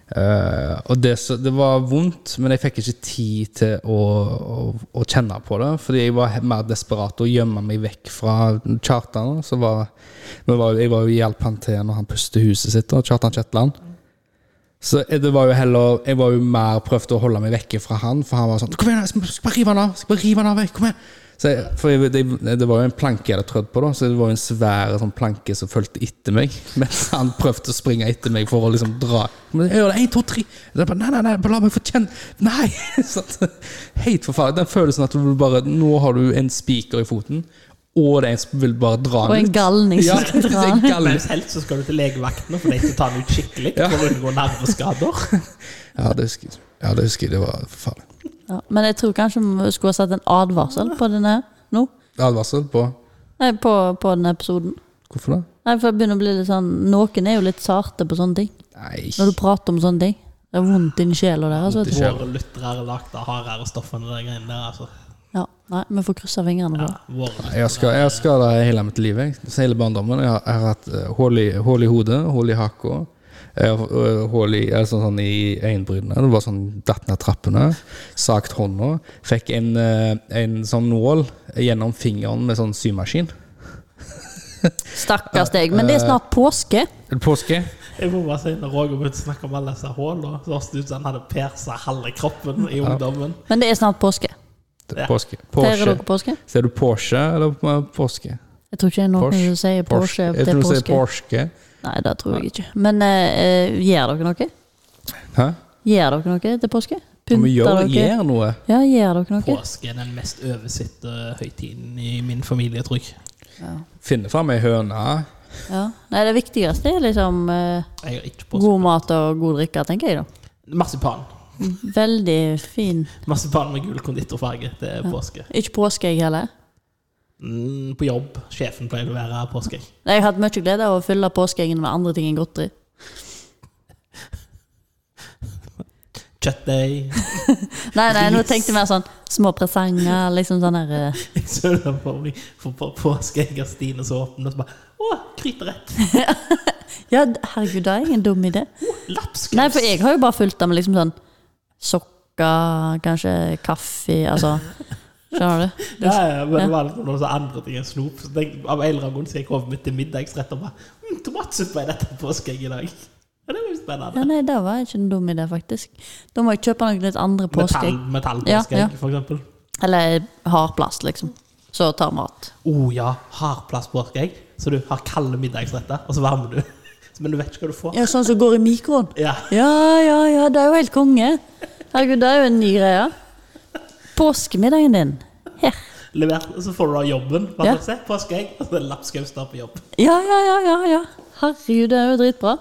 Speaker 2: Eh, og det, så, det var vondt, men jeg fikk ikke tid til å, å, å kjenne på det. Fordi jeg var he- mer desperat og gjemme meg vekk fra Kjartan. Så var, men var, jeg var jo hjalp han til når han pustet huset sitt, og Kjartan Kjetland. Så eh, det var jo heller Jeg var jo mer prøvd å holde meg vekke fra han, for han var sånn 'Kom igjen, jeg skal jeg skal bare rive han av!' jeg skal bare rive han av vekk, kom igjen så jeg, for jeg, det, det var jo en planke jeg hadde trødd på, da, så det var jo en svær sånn planke som fulgte etter meg. Mens han prøvde å springe etter meg for å liksom dra. Men jeg gjør det, en, to, tre. Og jeg bare, nei, nei, nei, bare la meg få kjenne Nei! Sånn, Helt forferdelig. Den følelsen at du bare Nå har du en spiker i foten, og det er en som vil bare dra
Speaker 1: Og en
Speaker 2: ut.
Speaker 1: galning
Speaker 2: Ja,
Speaker 1: som skal
Speaker 2: det
Speaker 1: dra
Speaker 2: er en
Speaker 1: den.
Speaker 2: galning.
Speaker 3: Mens helst så skal du til legevakten for deg til å ta den ut skikkelig.
Speaker 2: Ja.
Speaker 3: For å unngå nerveskader.
Speaker 2: Ja, det husker jeg. Ja, det husker jeg. Det var forferdelig.
Speaker 1: Ja, men jeg tror kanskje vi skulle ha satt en advarsel på denne nå.
Speaker 2: Advarsel på
Speaker 1: Nei, på, på denne episoden.
Speaker 2: Hvorfor det?
Speaker 1: Nei, for jeg begynner å bli litt sånn Noen er jo litt sarte på sånne ting.
Speaker 2: Nei.
Speaker 1: Når du prater om sånne ting. Det er vondt inni sjela deres. vet du.
Speaker 3: Våre lyttere er lagd av hardere stoff enn det greiene der. Altså.
Speaker 1: Ja, nei, vi får krysse fingrene
Speaker 3: Ja,
Speaker 1: for det.
Speaker 3: våre lyttere.
Speaker 2: Jeg skal, jeg skal det hele mitt liv. Jeg. Så Hele barndommen. Jeg har, jeg har hatt eh, hull i, hull i hodet, hull i haka. eh, og Hull i, eller sånn, sånn, i øyenbrynene. Det var sånn datt ned trappene. Sakt hånda. Fikk en, eh, en sånn nål gjennom fingeren med sånn symaskin.
Speaker 1: Stakkars deg. Men
Speaker 2: Eh,
Speaker 1: det er snart påske.
Speaker 2: Påske.
Speaker 3: Jeg må bare si, når Roger begynte å snakke om alle sånn disse hullene, så hørtes det ut som han hadde persa halve kroppen i ungdommen.
Speaker 1: Men det er snart påske.
Speaker 2: Det
Speaker 3: Ja.
Speaker 2: er påske.
Speaker 1: Feirer
Speaker 2: Porsche.
Speaker 1: dere påske?
Speaker 2: Ser du Porsche eller eh, påske?
Speaker 1: Jeg tror ikke det er noen
Speaker 2: Porsche.
Speaker 1: som sier Porsche,
Speaker 2: Jeg
Speaker 1: til
Speaker 2: tror du
Speaker 1: påske.
Speaker 2: sier Porsche.
Speaker 1: Nei, det tror jeg ikke. Men eh, eh, gjør dere noe?
Speaker 2: Hæ?
Speaker 1: Gjør dere noe til påske?
Speaker 2: Om vi
Speaker 1: Pynter dere?
Speaker 2: gjør, gjør noe.
Speaker 1: Ja, gjør dere noe?
Speaker 3: Påske er den mest oversette høytiden i min familie, tror jeg.
Speaker 1: Ja.
Speaker 2: Finne fram ei høne.
Speaker 1: ja. Nei, det viktigste er liksom eh,
Speaker 3: Jeg har ikke påske.
Speaker 1: god mat og god drikke, tenker jeg da.
Speaker 3: Marsipan.
Speaker 1: Veldig fin.
Speaker 3: Marsipan med gul konditorfarge. Det er påske.
Speaker 1: Ikke påske, jeg heller.
Speaker 3: Mm, på jobb. Sjefen pleier å være påske.
Speaker 1: Jeg har hatt mye glede av å fylle påskeeggen med andre ting enn godteri.
Speaker 3: Kjøttdeig.
Speaker 1: Nei, nei, nå
Speaker 3: Ris.
Speaker 1: tenkte jeg mer sånn små presanger, liksom sånn der eh,
Speaker 3: Jeg så det for meg for på påskeegg av Stine så åpen, og så bare Å, kryperett!
Speaker 1: Ja, d- herregud, det er ingen dum idé.
Speaker 3: Lapskaus!
Speaker 1: Nei, for jeg har jo bare fulgt det med liksom sånn sokker, kanskje kaffe, altså Skjønner du?
Speaker 3: Ja, ja, men det var liksom noen sånne andre ting enn snop. Så tenk, av en eller annen grunn så gikk hodet mitt til middagsrett og bare mm, Tomatsuppe er dette påskeegg i dag. Ja, det var
Speaker 1: Ja,
Speaker 3: jo spennende.
Speaker 1: nei, det var ikke en dum idé, faktisk. Da må jeg kjøpe noen litt andre
Speaker 3: Metall,
Speaker 1: påskeegg.
Speaker 3: Metallpåskeegg,
Speaker 1: Ja, ja.
Speaker 3: for eksempel.
Speaker 1: Eller hardplast, liksom. Så tar mat.
Speaker 3: Å oh, ja, hardplastpåskeegg. Så du har kalde middagsretter, og så varmer du. Men du vet ikke hva du får.
Speaker 1: Ja, sånn som går i mikroen.
Speaker 3: Ja.
Speaker 1: Ja, ja, ja, det er jo helt konge. Herregud, det er jo en ny greie. Påskemiddagen din. Her.
Speaker 3: Levert, og så får du da jobben. Bare
Speaker 1: Ja.
Speaker 3: se, påskeegg, og så er det lapskaus der på jobb.
Speaker 1: Ja, ja, ja, ja, ja. Herregud, det er jo dritbra.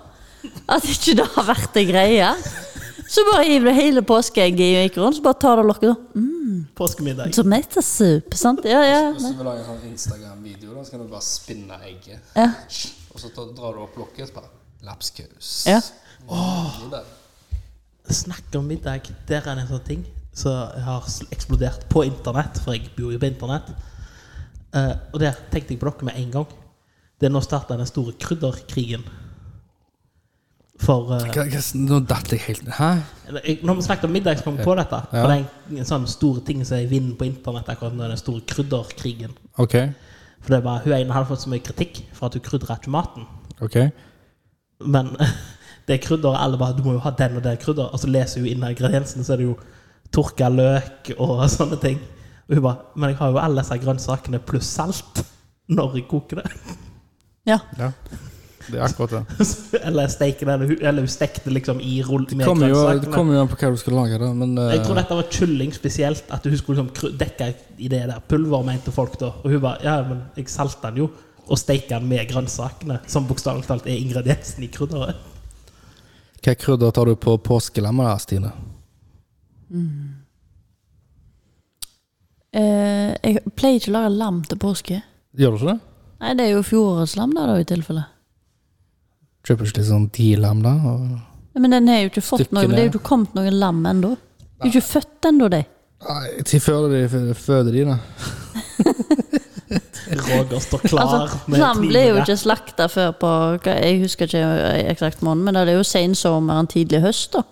Speaker 1: At ikke det har vært en greie. Så bare hiver du hele påskeegget i mikroen, så bare tar du lokket og
Speaker 3: Påskemiddag.
Speaker 1: Tomato soup, sant? Ja, ja.
Speaker 4: Hvis du vil lage en sånn Instagram-video, da, så kan du bare spinne egget.
Speaker 1: Ja.
Speaker 4: Og så tar- drar du opp lokket, så bare Lapskaus.
Speaker 1: Ja.
Speaker 4: Det er det.
Speaker 3: Snakk om middag. Der er det en sånn ting som har s- eksplodert på internett. For jeg bor jo på internett. Eh, og der tenkte jeg på dere med en gang. Det er nå starta den store krydderkrigen. For eh,
Speaker 2: Hva- hva- Nå datt jeg helt Hæ?
Speaker 3: eller, jeg- Når vi snakket om middag, så kom jeg på dette. For det er en, en sånn stor ting som er i vinden på internett akkurat nå, den store krydderkrigen.
Speaker 2: OK.
Speaker 3: For det er bare, hun ene har fått så mye kritikk for at hun krydrer ikke maten.
Speaker 2: ok
Speaker 3: Men det er krydder, og alle bare Du må jo ha den og det krydder. Og så leser hun inn ingrediensene, så er det jo tørka løk og sånne ting. Og hun bare Men jeg har jo alle disse grønnsakene pluss salt når jeg koker det.
Speaker 1: ja.
Speaker 2: Ja. Det er akkurat det.
Speaker 3: eller steker det, eller hun, eller hun stekte liksom i rull
Speaker 2: Det
Speaker 3: med
Speaker 2: kommer jo, det
Speaker 3: grønnsakene.
Speaker 2: kommer jo an på hva du skal lage, da. Men eh,
Speaker 3: jeg tror dette var kylling spesielt, at hun skulle liksom kry- dekke i det der pulver, mente folk da. Og hun bare Ja, men jeg salter den jo. Og steker den med grønnsakene, som bokstavelig talt er ingrediensen i krydderet.
Speaker 2: hva krydder tar du på påskelammet, da, Stine?
Speaker 1: Eh, jeg pleier ikke å lage lam til påske.
Speaker 2: Gjør du ikke det?
Speaker 1: Nei, det er jo fjorårets lam, da, da, i tilfelle.
Speaker 2: Kjøper du ikke litt sånn de-lam, da? Og...
Speaker 1: Nei, Men den har jo ikke fått
Speaker 2: Stykkene.
Speaker 1: noe, men det er jo ikke kommet noen lam ennå. De er jo ikke født ennå, de.
Speaker 2: Nei, til før de f- føder de, da.
Speaker 3: Roger står klar
Speaker 1: Altså,
Speaker 3: med
Speaker 1: lam ble jo
Speaker 3: kniven.
Speaker 1: ikke slakta før på hva- Jeg husker ikke eksakt måned, men det er jo sensommeren, tidlig høst. da.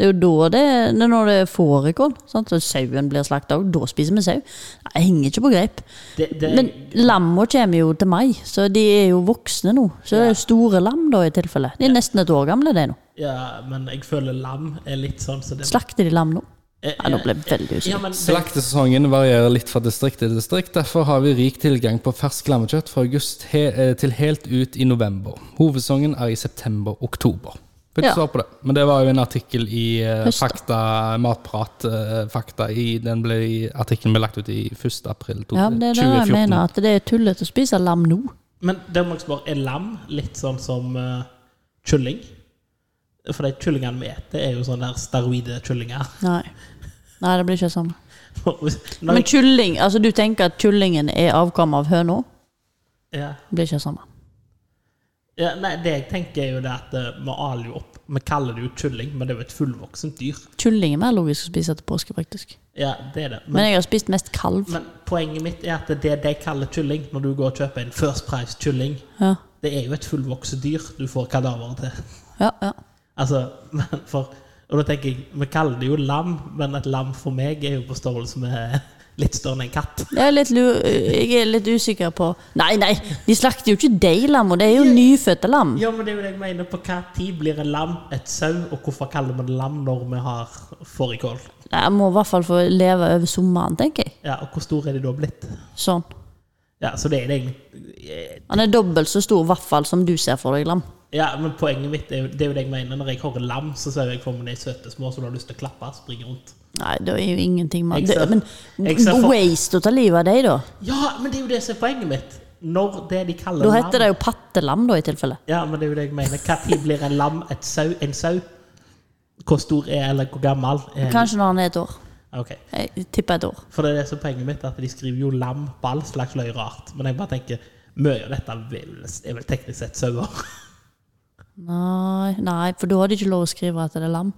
Speaker 1: Det er jo da det det er når det er fårikål. sant? Så Sauen blir slakta, og da spiser vi sau. Nei, Jeg henger ikke på greip.
Speaker 3: Det, det,
Speaker 1: Men lamma kommer jo til mai, så de er jo voksne nå. Så det er jo store lam, da, i tilfelle. De er nesten et år gamle, de nå.
Speaker 3: ja, men jeg føler lam er litt sånn så det,
Speaker 1: Slakter de lam nå?
Speaker 3: Eh,
Speaker 1: Ja, nå ble jeg veldig
Speaker 3: ja,
Speaker 1: usikker.
Speaker 3: men det,
Speaker 2: Slaktesesongen varierer litt fra distrikt til distrikt. Derfor har vi rik tilgang på fersk lammekjøtt fra august he eh, til helt ut i november. Hovedsesongen er i september-oktober. Fikk
Speaker 1: Ja.
Speaker 2: svar på det. Men det var jo en artikkel i eh,
Speaker 1: Høst, da.
Speaker 2: Fakta Matprat eh, Fakta i Den ble artikkelen ble lagt ut i 1. april to-
Speaker 1: Ja, men det er det jeg
Speaker 2: 2014.
Speaker 1: mener, at det er tullete å spise lam nå.
Speaker 3: men det må jeg spørre, er lam litt sånn som eh, kylling? For de kyllingene vi spiser, er jo sånne der steroide kyllinger.
Speaker 1: Nei. Nei, det blir ikke det samme.
Speaker 3: Når
Speaker 1: Men
Speaker 3: jeg,
Speaker 1: kylling, altså du tenker at kyllingen er avkom av høna?
Speaker 3: ja,
Speaker 1: Det Blir ikke det samme.
Speaker 3: ja, nei, det jeg tenker, er jo det at eh, vi aler jo opp Vi kaller det jo kylling, men det er jo et fullvoksent dyr.
Speaker 1: Kylling er mer logisk å spise til påske, faktisk.
Speaker 3: Ja, det er det. Men,
Speaker 1: Men jeg har spist mest kalv.
Speaker 3: men poenget mitt er at det de kaller kylling, når du går og kjøper en First Price-kylling,
Speaker 1: Ja,
Speaker 3: det er jo et fullvokst dyr du får kadaveret til.
Speaker 1: ja. ja.
Speaker 3: Altså, men for Og da tenker jeg, vi kaller det jo lam, men et lam for meg er jo på størrelse med litt større enn en katt.
Speaker 1: Jeg, er litt lu jeg er litt usikker på Nei, nei, de slakter jo ikke de lam, og det er jo nyfødte lam.
Speaker 3: Ja, men det er jo det jeg mener. På hva tid blir en lam et sau, og hvorfor kaller vi det lam når vi har fårikål?
Speaker 1: Jeg må i hvert fall få leve over sommeren, tenker jeg.
Speaker 3: Ja, og hvor stor er de da blitt?
Speaker 1: Sånn.
Speaker 3: Ja, så det er det egentlig
Speaker 1: Han er dobbelt så stor vaffel som du ser for deg, Lam.
Speaker 3: Ja, men poenget mitt er jo, det er jo det jeg mener. Når jeg hører lam, så ser jeg for meg de søte små som du har lyst til å klappe. Springe rundt.
Speaker 1: Nei, det er jo ingenting med
Speaker 3: Jeg ser-
Speaker 1: det, Men
Speaker 3: jeg ser for-
Speaker 1: waste å ta livet av deg, da.
Speaker 3: Ja, men det er jo det som er poenget mitt. Når det de kaller
Speaker 1: Da heter det jo pattelam, da, i tilfelle.
Speaker 3: Ja, men det er jo det jeg mener. Når blir en lam et sau, en sau? Hvor stor er eller hvor gammel er en- Ah,
Speaker 1: Kanskje når han er et år.
Speaker 3: Ok.
Speaker 1: Jeg tipper et år.
Speaker 3: For det er det som er poenget mitt, at de skriver jo lam på all slags løye rart. Men jeg bare tenker mye av dette vil- er vel teknisk sett sauer.
Speaker 1: Nei, nei, for da har de ikke lov å skrive at det er lam.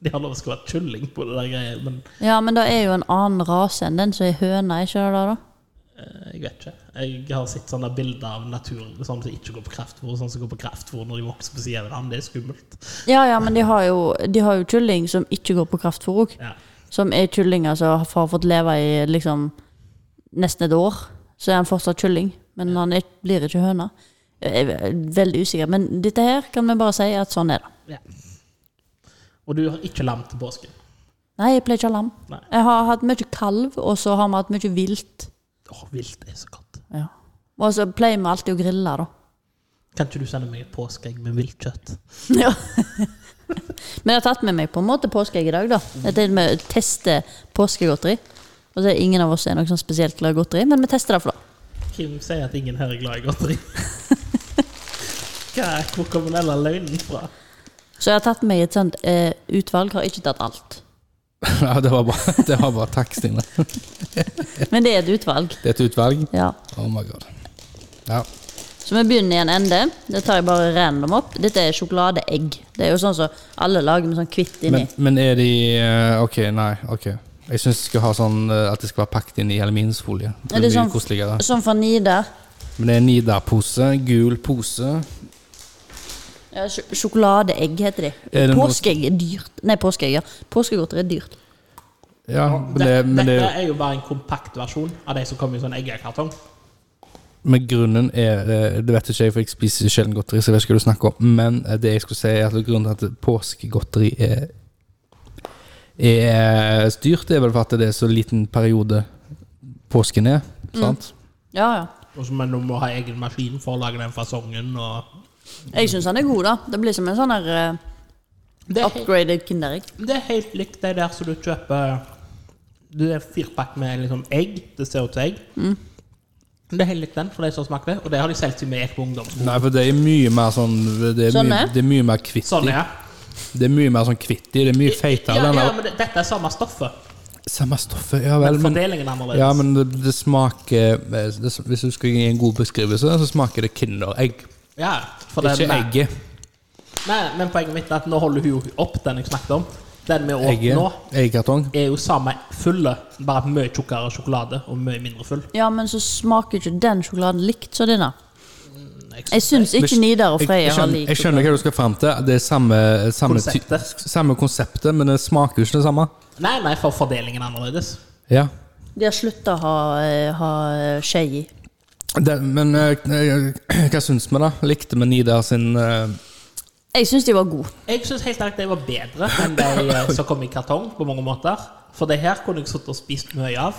Speaker 3: De har lov til å skrive kylling på det der greiet, men
Speaker 1: Ja, men det er jo en annen rase enn den som er høna, ikke det da? da?
Speaker 3: eh, jeg vet ikke. Jeg har sett sånne bilder av naturen sånn som ikke går på kraftfôr, og sånn som går på kraftfôr når de vokser på siden av hverandre. Det er skummelt.
Speaker 1: Ja, ja, men de har jo, de har jo kylling som ikke går på kraftfôr òg.
Speaker 3: Ja.
Speaker 1: Som er kyllinger som har fått leve i liksom nesten et år. Så er han fortsatt kylling, men han er, blir ikke høna. Jeg er veldig usikker, men dette her kan vi bare si at sånn er det.
Speaker 3: ja. Og du har ikke lam til påsken.
Speaker 1: Nei, jeg pleier ikke å ha lam.
Speaker 3: Nei.
Speaker 1: Jeg har hatt mye kalv, og så har vi hatt mye vilt.
Speaker 3: Åh, vilt er så godt.
Speaker 1: Ja. Og så pleier vi alltid å grille, da.
Speaker 3: Kan ikke du sende meg et påskeegg med vilt kjøtt?
Speaker 1: Ja. Men jeg har tatt med meg på en måte påskeegg i dag, da.
Speaker 2: Mm.
Speaker 1: Dette er med å teste påskegodteri. Og så er ingen av oss er noe sånn spesielt glad i godteri, men vi tester det for det.
Speaker 3: Kim sier at ingen her er glad i godteri. Hva, hvor kommer denne løgnen fra?
Speaker 1: Så jeg har tatt meg et sånt eh, utvalg, har ikke tatt alt.
Speaker 2: Ja, det var bare, det var bare takk, Stine.
Speaker 1: Men det er et utvalg.
Speaker 2: Det er et utvalg.
Speaker 1: Ja.
Speaker 2: Oh my god. Ja.
Speaker 1: Så vi begynner i en ende. Det tar jeg bare random opp. Dette er sjokoladeegg. Det er jo sånn som alle lager med sånn hvitt inni.
Speaker 2: Men, men er de eh, Ok, nei. ok Jeg syns de skal ha sånn eh, at det skal være pakket inn i aluminiumsfolie. Det
Speaker 1: Er
Speaker 2: er
Speaker 1: det
Speaker 2: mye
Speaker 1: sånn-
Speaker 2: koseligere.
Speaker 1: Sånn fra Nidar.
Speaker 2: Men det er en Nidar-pose. Gul pose.
Speaker 1: Ja, sj- sjokoladeegg heter de.
Speaker 2: Er det noe-
Speaker 1: Påskeegg er dyrt. Nei, påskeegg, ja. Påskegodteri er dyrt.
Speaker 2: Ja, men det,
Speaker 3: Dette,
Speaker 2: men det,
Speaker 3: dette er jo bare en kompakt versjon av de som kommer i sånn eggekartong.
Speaker 2: men grunnen er eh, Det vet ikke jeg, for jeg spiser sjelden godteri. Så jeg vet ikke hva du snakker om Men eh, det jeg skulle si er at grunnen til at påskegodteri er Er dyrt, er vel for at det er så liten periode påsken er. Sant?
Speaker 1: Ja, ja.
Speaker 3: Og så Men du må ha egen maskin for å lage den fasongen. Og
Speaker 1: Jeg syns han er god, da. Det blir som en sånn her
Speaker 3: det,
Speaker 1: eh,
Speaker 3: er helt,
Speaker 1: upgraded kinderegg.
Speaker 3: det er helt likt de der som du kjøper Du er firpakk med liksom egg. Det ser ut som egg. Det er helt likt den for de som smaker det. Og det har de solgt til meg på ungdomsskolen.
Speaker 2: Nei, for det er mye mer sånn Det er, mye,
Speaker 1: Sånne?
Speaker 2: det er mye mer kvitt i.
Speaker 3: Sånn, ja.
Speaker 2: Det er mye mer sånn kvitt i. Det er mye feitere.
Speaker 3: ja,
Speaker 2: den
Speaker 3: ja,
Speaker 2: der-
Speaker 3: men det, dette er samme stoffet.
Speaker 2: Samme stoffet, ja vel.
Speaker 3: Men
Speaker 2: Men,
Speaker 3: fordelingen er annerledes.
Speaker 2: ja, men det, det smaker eh, det, Hvis du skal gi en god beskrivelse, så smaker det Kinderegg.
Speaker 3: ja, for det,
Speaker 2: Ikke
Speaker 3: nei.
Speaker 2: egget.
Speaker 3: Nei, men poenget mitt er at nå holder hun jo opp den jeg snakket om. Den vi åt nå,
Speaker 2: Egget. Eggkartong.
Speaker 3: er jo samme fulle, bare mye tjukkere sjokolade og mye mindre full.
Speaker 1: Ja, men så smaker ikke den sjokoladen likt som denne.
Speaker 3: Jeg
Speaker 1: Jeg syns ikke Nidar og
Speaker 2: Jeg,
Speaker 1: Freya
Speaker 2: jeg,
Speaker 1: har
Speaker 2: skjønner,
Speaker 1: lik
Speaker 2: jeg skjønner hva du skal fram til. Det er samme, eh, samme, ty-
Speaker 3: Konseptet.
Speaker 2: samme konseptet, men det smaker jo ikke det samme.
Speaker 3: Nei, nei, for fordelingen er annerledes.
Speaker 2: Ja.
Speaker 1: De har slutta å ha, eh, ha eh, skje i.
Speaker 2: Det, men eh, eh, hva syns vi, da? Likte vi Nidar sin eh,
Speaker 1: Jeg syns de var gode.
Speaker 3: Jeg syns helt ærlig at de var bedre enn de eh, som kom i kartong, på mange måter. For det her kunne jeg sittet og spist mye av,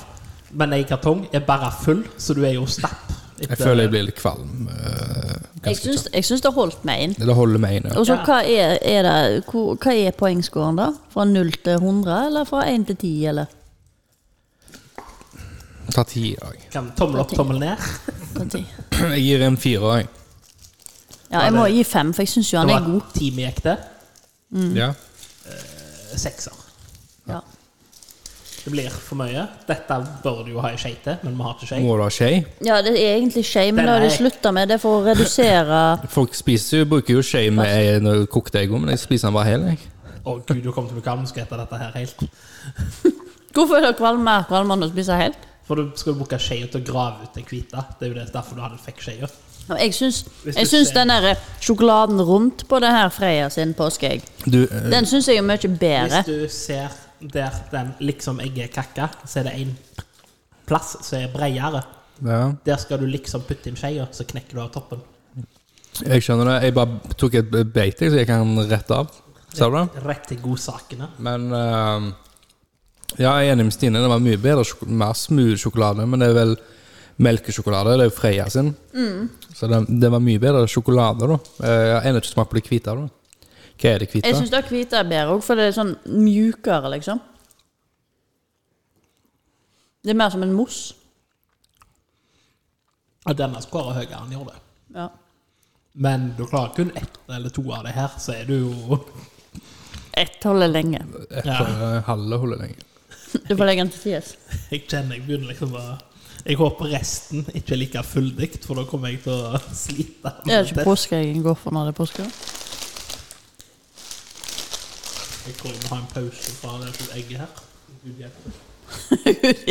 Speaker 3: men de i kartong er bare full, så du er jo stapp.
Speaker 2: Jeg føler jeg blir litt kvalm. eh,
Speaker 1: Jeg
Speaker 2: ganske
Speaker 1: syns, jeg syns det holdt meg inn.
Speaker 2: kjapt. Det holder meg inne.
Speaker 1: Og så
Speaker 3: Ja.
Speaker 1: hva er, er det hvor, Hva er poengscoren, da? Fra 0 til 100, eller fra 1 til 10, eller?
Speaker 2: Ta ti i dag.
Speaker 3: Kan tommel opp, tommel ned.
Speaker 1: Fra 10?
Speaker 2: Jeg gir en firer, jeg.
Speaker 1: Ja, jeg må gi fem, for jeg syns jo han
Speaker 3: Det
Speaker 1: er
Speaker 3: var
Speaker 1: god.
Speaker 3: en time gikk det.
Speaker 2: Ja.
Speaker 3: Sekser.
Speaker 1: Ja.
Speaker 3: Det blir for mye. Dette bør du jo ha i skje til, men vi har ikke skje.
Speaker 2: Må du ha skje?
Speaker 1: ja, det er egentlig skje, men
Speaker 3: Den
Speaker 1: det har de
Speaker 3: er-
Speaker 1: slutta med. Det er for å redusere
Speaker 2: Folk spiser jo, bruker jo skje med ei- når de kokte egg, men jeg spiser den bare hel. Jeg.
Speaker 3: Å gud, du kommer til å bli kvalm, skal jeg etter dette her helt.
Speaker 1: Hvorfor er det kvalme? Kvalmer når du spiser helt?
Speaker 3: For du skal jo bruke skjea til å grave ut den hvite. Det er jo det, derfor du hadde fikk skjea.
Speaker 1: Ja, Jeg syns,
Speaker 3: Hvis
Speaker 1: jeg
Speaker 3: du
Speaker 1: syns
Speaker 3: ser-
Speaker 1: den der eh, sjokoladen rundt på det her Freya sin påskeegg,
Speaker 2: Du, eh,
Speaker 1: den syns jeg er mye bedre.
Speaker 3: Hvis du ser der den liksom egget er kakka, så er det en plass som er bredere.
Speaker 2: ja.
Speaker 3: Der skal du liksom putte inn skjea, så knekker du av toppen.
Speaker 2: Jeg skjønner det. Jeg bare tok et beit, jeg, så jeg kan rette av. Ser du det?
Speaker 3: Rett til godsakene.
Speaker 2: Men eh, Ja, jeg er enig med Stine. Det var mye bedre sjoko- mer smooth sjokolade, men det er vel melkesjokolade. Det er jo Freia sin. Så det, det var mye bedre sjokolade, da. Eh, Jeg har ennå ikke smakt på det hvite. da. Hva er det hvite?
Speaker 1: Jeg syns det hvite er bedre òg, for det er sånn mjukere, liksom. Det er mer som en mousse.
Speaker 3: Og denne skåra høyere enn gjorde det.
Speaker 1: Ja.
Speaker 3: Men du klarer kun ett eller to av det her, så er du jo
Speaker 1: Ett holder lenge.
Speaker 2: Etter eh, halve holder lenge.
Speaker 1: Du får legge den til sides.
Speaker 3: Jeg kjenner jeg begynner liksom å Jeg håper resten ikke er like fulldig, for da kommer jeg til å slite.
Speaker 1: Det er ikke påskeeggen går for når det er påske.
Speaker 3: Jeg tror vi må ha en pause fra det egget her. Gud hjelpe.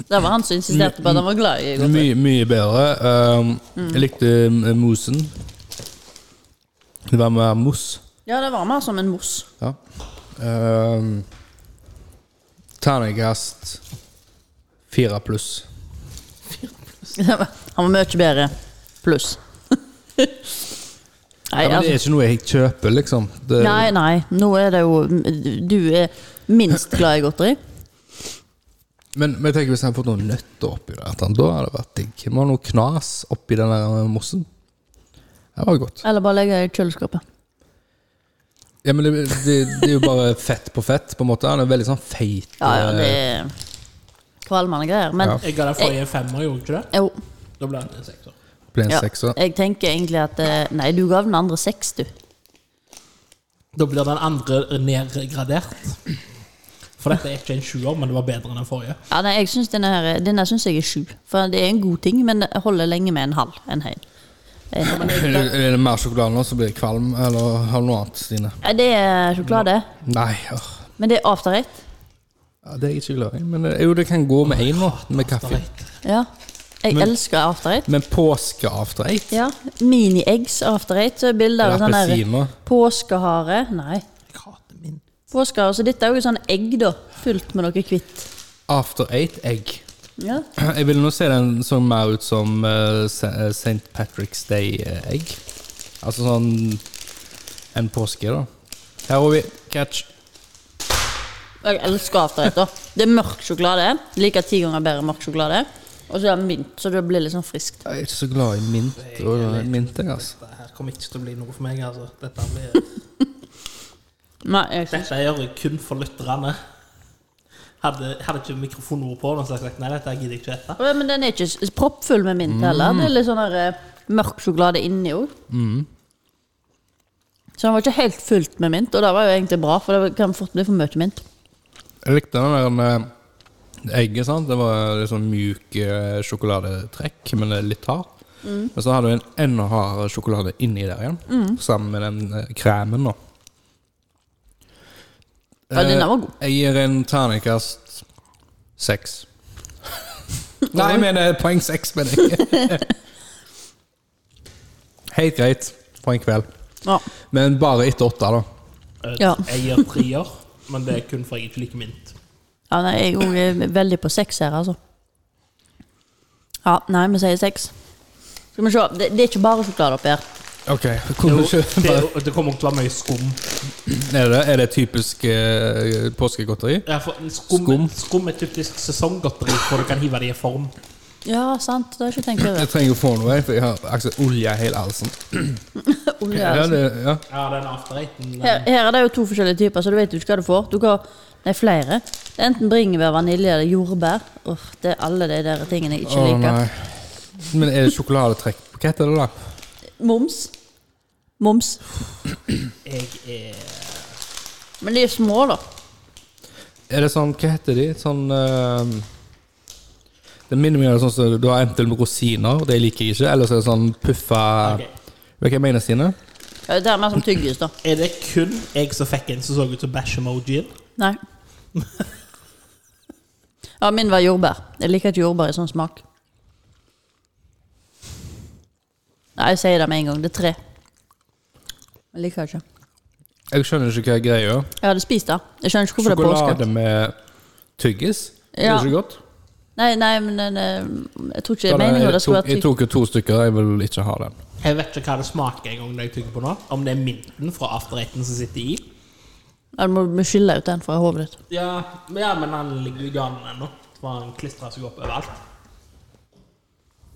Speaker 1: Det var han som insisterte på at han var Mm. glad i godteri.
Speaker 2: Mye, mye bedre. Um, Jeg likte eh, mosen. Det var mer mos.
Speaker 1: Ja, det var mer som en mousse.
Speaker 2: Ja. Um, Terningkast fire pluss.
Speaker 1: Det var- Han var mye bedre. Pluss. Nei,
Speaker 2: Ja, men det er
Speaker 1: altså,
Speaker 2: ikke noe jeg kjøper, liksom. Det,
Speaker 1: nei, nei. Nå er det jo mm, Du er minst glad i godteri.
Speaker 2: Men, men jeg tenker hvis jeg hadde fått noen nøtter oppi der, at han- da hadde det vært digg. Må ha noe knas oppi den der mossen. Det var godt.
Speaker 1: Eller bare legge det i kjøleskapet.
Speaker 2: Ja, men det, det, det er jo bare fett på fett, på en måte. Han er veldig sånn feit.
Speaker 1: Ja, ja, det
Speaker 2: eh,
Speaker 1: er kvalmende greier. Men
Speaker 2: Ja.
Speaker 3: Jeg ga den forrige en femmer, gjorde jeg ikke det?
Speaker 1: jo.
Speaker 3: Da ble den en sekser.
Speaker 2: Ble en
Speaker 1: Ja.
Speaker 2: sekser.
Speaker 1: Jeg tenker egentlig at eh, Nei, du gav den andre seks, du.
Speaker 3: Da blir den andre nedgradert. For dette er ikke en sjuer, men det var bedre enn den forrige.
Speaker 1: Ja, nei, jeg synes denne, her, denne synes jeg er sju. For det er en god ting, men det holder lenge med en halv. En hel. Eh, En hel.
Speaker 2: Er det- Er det mer sjokolade nå, så blir jeg kvalm. Eller har du noe annet, Stine?
Speaker 1: Ja, eh, Det er sjokolade,
Speaker 2: Nei, åh.
Speaker 1: men det er after eight.
Speaker 2: ja, det er jeg ikke glad i. Men eh, jo, det kan gå med én nå, med kaffe.
Speaker 3: Streit.
Speaker 1: Ja. Jeg
Speaker 2: Men-
Speaker 1: elsker after eight.
Speaker 2: Men påskeafterate?
Speaker 1: Ja. Mini-eggs after eight. Så er bilder
Speaker 2: Eller
Speaker 1: av sånn der
Speaker 2: appelsiner?
Speaker 1: påskehare. Nei.
Speaker 3: Jeg hater min.
Speaker 1: Påskehare. Så dette er jo sånn egg, da. Fullt med noe hvitt.
Speaker 2: After eight-egg.
Speaker 1: Ja.
Speaker 2: Jeg vil nå se den så mer ut som eh, Se- eh, St. Patrick's Day-egg. Altså sånn en påske, da. Her har vi catch.
Speaker 1: Jeg elsker after eight, da. Det er mørk sjokolade. Liker ti ganger bedre mørk sjokolade. Og så er det mynt, så det blir litt sånn friskt.
Speaker 2: Jeg er ikke så glad i mint. Og mint jeg, altså.
Speaker 3: Dette her kommer ikke til å bli noe for meg, altså. Dette, blir,
Speaker 1: Nei, jeg synes
Speaker 3: dette gjør jeg kun for lytterne. Hadde, hadde ikke mikrofonord på den, så hadde jeg sagt nei, dette gidder jeg ikke spise.
Speaker 1: Ja, Men den er ikke s- proppfull med mint heller. Det er litt sånn der, eh, mørk sjokolade inni òg. Så den var ikke helt fullt med mint, og det var jo egentlig bra, for det kan fort bli for mye mint.
Speaker 2: Jeg likte den der eh, egget. sant? Det var litt sånn mjuk eh, sjokoladetrekk, men det er litt hard.
Speaker 1: Mm.
Speaker 2: Men så hadde du en enda hardere sjokolade inni der igjen, sammen med den eh, kremen. da.
Speaker 1: Ja, denne var god.
Speaker 2: Eh, Jeg gir en terningkast seks. Nei, jeg mener poeng seks, mener jeg. Helt greit for en kveld.
Speaker 1: Ja.
Speaker 2: Men bare etter åtte, da.
Speaker 3: Eh,
Speaker 1: Ja.
Speaker 3: Jeg gir trier, men det er kun fordi jeg ikke liker mint.
Speaker 1: ja nei, jeg òg er eh, veldig på seks her, altså. Ja, nei, vi sier seks. Skal vi se. Det, det er ikke bare sjokolade oppi her.
Speaker 2: Ok,
Speaker 3: Det,
Speaker 2: kunne
Speaker 3: er
Speaker 2: du
Speaker 3: jo,
Speaker 2: ikke
Speaker 3: det, er
Speaker 2: bare,
Speaker 3: jo, det kommer til å være mye skum.
Speaker 2: er, det, er det typisk eh, påskegodteri?
Speaker 3: Ja, for Skum,
Speaker 2: Skum?
Speaker 3: skum er typisk sesonggodteri, hvor du kan hive det i form.
Speaker 1: Ja, sant. Det har jeg ikke tenkt over.
Speaker 2: Jeg trenger å få noe, for jeg har altså, olje i hele halsen.
Speaker 1: Olje,
Speaker 2: Ja,
Speaker 1: altså.
Speaker 2: det, ja.
Speaker 3: Ja, den after eighten den-
Speaker 1: Her, her er det jo to forskjellige typer, så du vet jo ikke hva du får. Du kan, nei, flere. Det er enten bringebær, vanilje eller jordbær. Uff, det er alle de der tingene jeg ikke
Speaker 2: Å,
Speaker 1: liker.
Speaker 2: nei. Men er det sjokoladetrekk? Hva heter det, da?
Speaker 1: Moms. Moms.
Speaker 3: Jeg er
Speaker 1: Men de er små, da.
Speaker 2: Er det sånn, hva heter de? Sånn eh, Det minner meg om sånn som du har enten rosiner, det liker jeg ikke, eller så er det sånn puffa
Speaker 3: ok.
Speaker 2: Vet du hva jeg mener, Stine?
Speaker 1: Ja, Det er mer som tyggis, da.
Speaker 3: Er det kun jeg som fikk en som så ut som bæsj-emojien?
Speaker 1: Nei. Ja, min var jordbær. Jeg liker ikke jordbær i sånn smak. Nei, jeg sier det med en gang. Det er tre. Jeg liker det ikke.
Speaker 2: Jeg skjønner ikke hva jeg greier.
Speaker 1: Jeg hadde spist det. Jeg skjønner ikke hvorfor det er
Speaker 2: Sjokolade
Speaker 1: påske.
Speaker 2: med tyggis? Er
Speaker 1: Ja.
Speaker 2: det ikke godt?
Speaker 1: Nei, nei, men eh, jeg tror ikke det
Speaker 2: Da,
Speaker 1: er
Speaker 2: nei,
Speaker 1: meningen at det
Speaker 2: jeg,
Speaker 1: skal
Speaker 2: tok,
Speaker 1: være
Speaker 2: jeg
Speaker 1: tygg.
Speaker 2: tok jo to stykker, jeg vil ikke ha den.
Speaker 3: Jeg vet ikke hva det smaker en gang når jeg tygger på nå. Om det er minten fra after eighten som sitter i,
Speaker 1: Ja, du må du må skille ut den fra hodet ditt.
Speaker 3: Ja, men- ja, men han ligger jo i ganen ennå. For han klistrer seg opp overalt.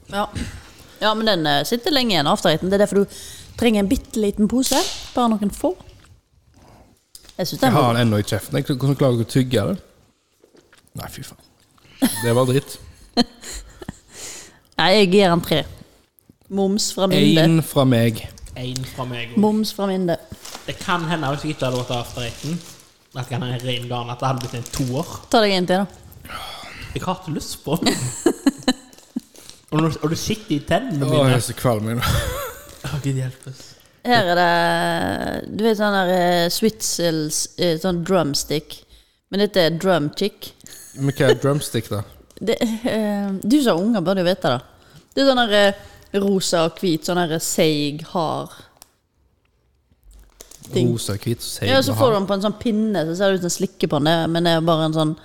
Speaker 1: Ja. ja, men den eh, sitter lenge igjen, afterhiten. Det er derfor du trenger en bitte liten pose. Bare noen få. Jeg syns
Speaker 2: Jeg
Speaker 1: den
Speaker 2: har
Speaker 1: var
Speaker 2: den ennå i kjeften. Jeg, hvordan klarer jeg å tygge det? Nei, fy faen. Det var dritt.
Speaker 1: Nei, jeg gir den tre. Moms fra Minde.
Speaker 2: Én fra meg.
Speaker 3: Én fra meg. og-
Speaker 1: Moms fra Minde.
Speaker 3: Det kan hende hvis jeg ikke hadde vært after eighten, at jeg hadde en ren garn, at det hadde blitt en toer.
Speaker 1: Ta deg en til, da.
Speaker 3: Jeg har ikke lyst på den. og, når, og du sitter i tennene
Speaker 2: Å,
Speaker 3: mine.
Speaker 2: jeg er så kvalm nå.
Speaker 3: Å, Gud hjelpes.
Speaker 1: Her er det Du vet sånn der eh, Switzels eh, Sånn drumstick. Men dette er drumchick.
Speaker 2: Men hva er drumstick, da?
Speaker 1: Det, eh, du som har unger, bør jo vite det. Det er sånn der eh, rosa og hvit, sånn der seig, hard Ting.
Speaker 2: Rosa, hvit, seig
Speaker 1: Ja, så
Speaker 2: og
Speaker 1: får du
Speaker 2: hard.
Speaker 1: den på en sånn pinne, så ser det ut som en slikkepanne, men det er bare en sånn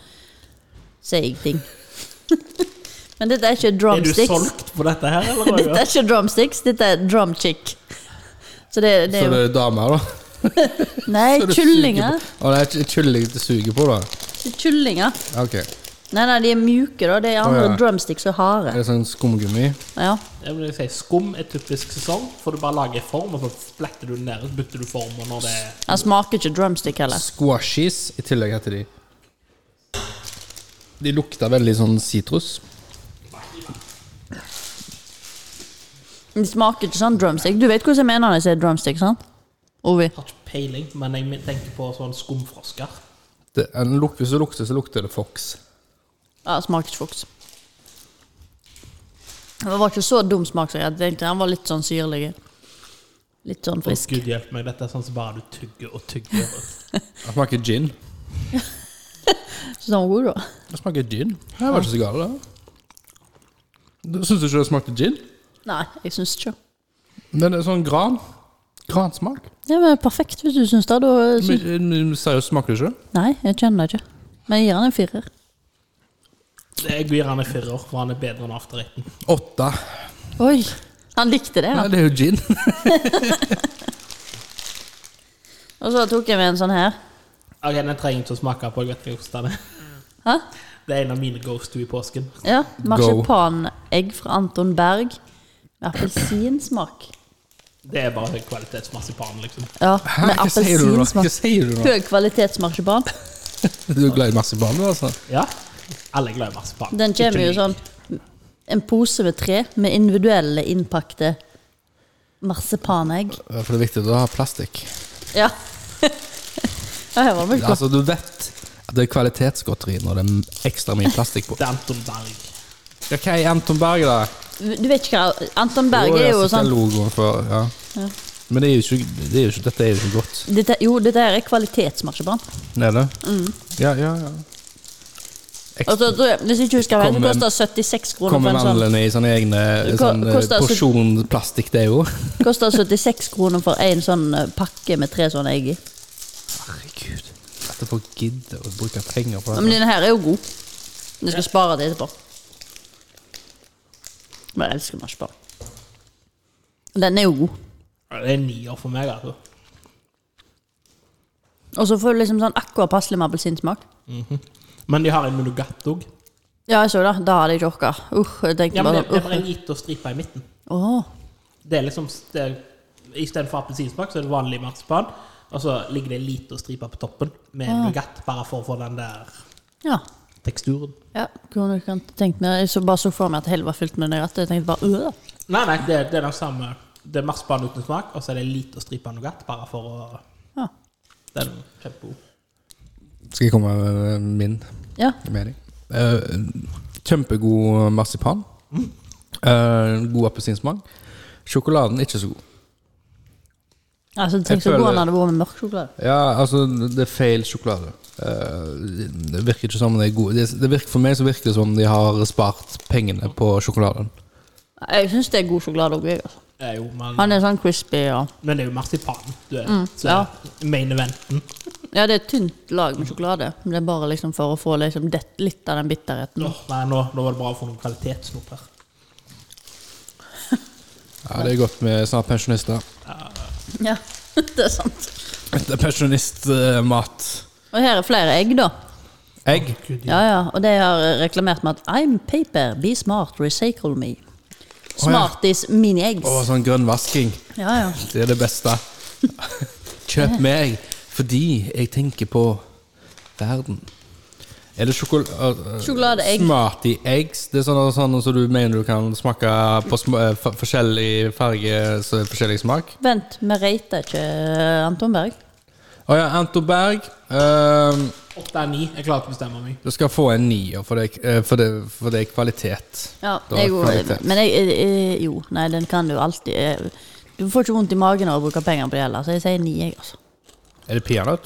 Speaker 1: seig ting. men dette er ikke
Speaker 3: Er du
Speaker 1: drumsticks.
Speaker 3: solgt på dette her, eller?
Speaker 1: dette er ikke drumsticks, dette er drumchick. Så det, det
Speaker 2: Så
Speaker 1: er
Speaker 2: det
Speaker 1: jo
Speaker 2: er damer, da?
Speaker 1: Nei,
Speaker 2: Så det suger
Speaker 1: kyllinger.
Speaker 2: på- Å, det er ikke kylling det suger på, da?
Speaker 1: Ikke kyllinger.
Speaker 2: Ok. Er
Speaker 1: Nei, nei, de er mjuke, da. Det er andre
Speaker 2: ja.
Speaker 1: drumsticks som er harde.
Speaker 2: det sånn skumgummi?
Speaker 1: Ja.
Speaker 3: Jeg vil si, skum er typisk sesong, for du bare lager en form, og så splatter du den ned, og så bytter du form, og når det er
Speaker 1: Han smaker ikke drumstick heller.
Speaker 2: Squashies i tillegg heter de. De lukter veldig sånn sitrus.
Speaker 1: De smaker ikke sånn drumstick. Du vet hvordan jeg mener når jeg sier drumstick, sant? Ovi.
Speaker 3: Har ikke peiling, men jeg min- tenker på sånn skumfrosker.
Speaker 2: Det- en luk- Hvis det lukter, så lukter det Fox.
Speaker 1: Ja, smaker ikke fox. Men Det var ikke så dum smak som jeg hadde tenkt. Han var litt sånn syrlig. Litt sånn
Speaker 3: Å,
Speaker 1: frisk.
Speaker 3: Gud hjelpe meg, dette er sånn som bare du tygger og tygger.
Speaker 2: Det smaker gin.
Speaker 1: Så den var god, da.
Speaker 2: Det smaker gin. Det var ikke så galt, det. Syns du ikke det smakte gin?
Speaker 1: Nei, jeg syns ikke.
Speaker 2: Men det er sånn gran. Gransmak.
Speaker 1: Ja, men Perfekt, hvis du syns det. Da syns...
Speaker 2: Men- eh, men Seriøst, smaker det ikke?
Speaker 1: Nei, jeg kjenner det ikke. Men jeg gir han en firer.
Speaker 3: Jeg gir han en firer, for han er bedre enn after eighten.
Speaker 2: Åtte.
Speaker 1: Oi! Han likte det,
Speaker 2: Nei,
Speaker 1: han.
Speaker 2: det er jo gin.
Speaker 1: Og så tok jeg med en sånn her.
Speaker 3: Ok, Den trenger ikke å smake på. jeg vet ikke hvordan den er.
Speaker 1: Hæ?
Speaker 3: Det er en av mine goes to i påsken.
Speaker 1: Ja. Marsipanegg fra Anton Berg. Med appelsinsmak.
Speaker 3: Det er bare høy kvalitetsmarsipan, liksom.
Speaker 1: Ja,
Speaker 2: Hæ?
Speaker 1: med
Speaker 2: Hva sier du nå? Hva
Speaker 1: appelsinsmak.
Speaker 2: sier du nå?
Speaker 1: Høy kvalitetsmarsipan.
Speaker 2: Du er glad i marsipan, du, altså?
Speaker 3: Ja. Alle er glad i marsipan.
Speaker 1: Den kommer jo
Speaker 3: Ikke
Speaker 1: sånn En pose med tre med individuelle innpakte marsipanegg.
Speaker 2: Ja, For det er viktig å ha plastikk.
Speaker 1: Ja. ja her var vel godt.
Speaker 2: Altså, du vet at det er kvalitetsgodteri når det er ekstra mye plastikk på.
Speaker 3: Det er Anton Berg.
Speaker 2: Ja, hva er Anton Berg, da?
Speaker 1: Du vet ikke hva Anton Berg
Speaker 2: Å,
Speaker 1: er
Speaker 2: ja,
Speaker 1: jo
Speaker 2: så det
Speaker 1: sånn
Speaker 2: logoen for, ja. Men det er jo ikke, det er jo ikke, dette er jo ikke godt.
Speaker 1: dette, Jo, dette her er kvalitetsmarsipan.
Speaker 2: Er det? Ja, ja, ja.
Speaker 1: Og så tror Altså, jeg- Hvis ikke husker jeg
Speaker 2: Kom
Speaker 1: det
Speaker 2: med-
Speaker 1: koster 76 kroner for
Speaker 2: Kommer
Speaker 1: en sånn.
Speaker 2: mandlene i sånne egne
Speaker 1: Ko-
Speaker 2: sånn, eh,
Speaker 1: koster- altså-
Speaker 2: porsjon plastikk, det er jo?
Speaker 1: Koster 76 kroner for en sånn eh, pakke med tre sånne egg i.
Speaker 2: Herregud. At folk gidder å bruke penger på
Speaker 1: Ja,
Speaker 2: det.
Speaker 1: Men denne her er jo god. Du skal spare det etterpå. Men jeg elsker marsipan. Den er jo god.
Speaker 3: Det er en nier for meg, altså.
Speaker 1: Og så får du liksom sånn akkurat passelig med appelsinsmak.
Speaker 3: Men de har en med nougat òg.
Speaker 1: Ja, jeg så det. Da hadde jeg ikke orka. Uh, jeg tenkte
Speaker 3: Ja, men
Speaker 1: bare
Speaker 3: det det er
Speaker 1: sånn
Speaker 3: bare en
Speaker 1: uh.
Speaker 3: gitt og stripe i midten.
Speaker 1: Åh.
Speaker 3: Det er liksom det er, Istedenfor appelsinsmak, så er det vanlig marsipan. Og så ligger det en liten stripe på toppen med
Speaker 1: Ah.
Speaker 3: en nougat, bare for å få den der
Speaker 1: Ja.
Speaker 3: teksturen.
Speaker 1: ja. Kunne du ikke tenkt meg Jeg så bare så for meg at hele var fylt med nøtter. Jeg tenkte bare øh.
Speaker 3: Nei, nei, det, det er den samme. Det er marsipan uten smak, og så er det en liten stripe nougat, bare for å
Speaker 1: Ja.
Speaker 3: Den er kjempegod.
Speaker 2: Skal jeg komme med eh, min?
Speaker 1: ja.
Speaker 2: mening. Eh, kjempegod marsipan. Eh, god appelsinsmak. Sjokoladen ikke så god.
Speaker 1: Altså, tenk
Speaker 2: Jeg
Speaker 1: så god
Speaker 2: føler-
Speaker 1: han hadde vært med mørk sjokolade.
Speaker 2: Ja, altså, det er feil sjokolade. Eh, det virker ikke som det er god. Det, det virker, for meg så virker det som de har spart pengene på sjokoladen.
Speaker 1: Jeg syns det er god sjokolade òg, jeg. Altså.
Speaker 3: Det er jo, men,
Speaker 1: Han er sånn crispy og
Speaker 3: men det er jo marsipan. Du er, så
Speaker 1: ja.
Speaker 3: main eventen.
Speaker 1: Ja, det er et tynt lag med sjokolade. Men det er bare liksom for å få liksom det, litt av den bitterheten.
Speaker 3: Åh, nei, nå, nå var det bra å få noen kvalitetssnop her.
Speaker 2: Ja, Det er godt med snart pensjonister.
Speaker 1: Ja, det er sant.
Speaker 2: Det er pensjonistmat.
Speaker 1: Og her er flere egg, da.
Speaker 2: Egg.
Speaker 3: Gud,
Speaker 1: Ja, ja. Og de har reklamert med at I'm paper, be smart, recycle me. Smarties mini-eggs.
Speaker 2: Og sånn grønn vasking.
Speaker 1: Ja, ja.
Speaker 2: Det er det beste. Kjøp meg fordi jeg tenker på verden. Er det sjokol øh,
Speaker 1: Sjokoladeegg.
Speaker 2: Smarty eggs. Det er sånne, sånne som du mener du kan smake på sm øh, f forskjellig farge så forskjellig smak?
Speaker 1: Vent, vi rater ikke eh, Anton Berg.
Speaker 2: Å ja, Anto Berg. øh,
Speaker 3: Åtte er ni. Jeg klarer ikke å bestemme meg.
Speaker 2: du skal få en nier, for det, øh, for det, for det er kvalitet.
Speaker 1: Ja,
Speaker 2: Det var
Speaker 1: jeg, jo-
Speaker 2: kvalitet.
Speaker 1: men jeg, jeg Jo, nei, den kan du alltid eh, Du får ikke vondt i magen av å bruke penger på det heller, så jeg sier ni, jeg, altså.
Speaker 2: Er det peanøtt?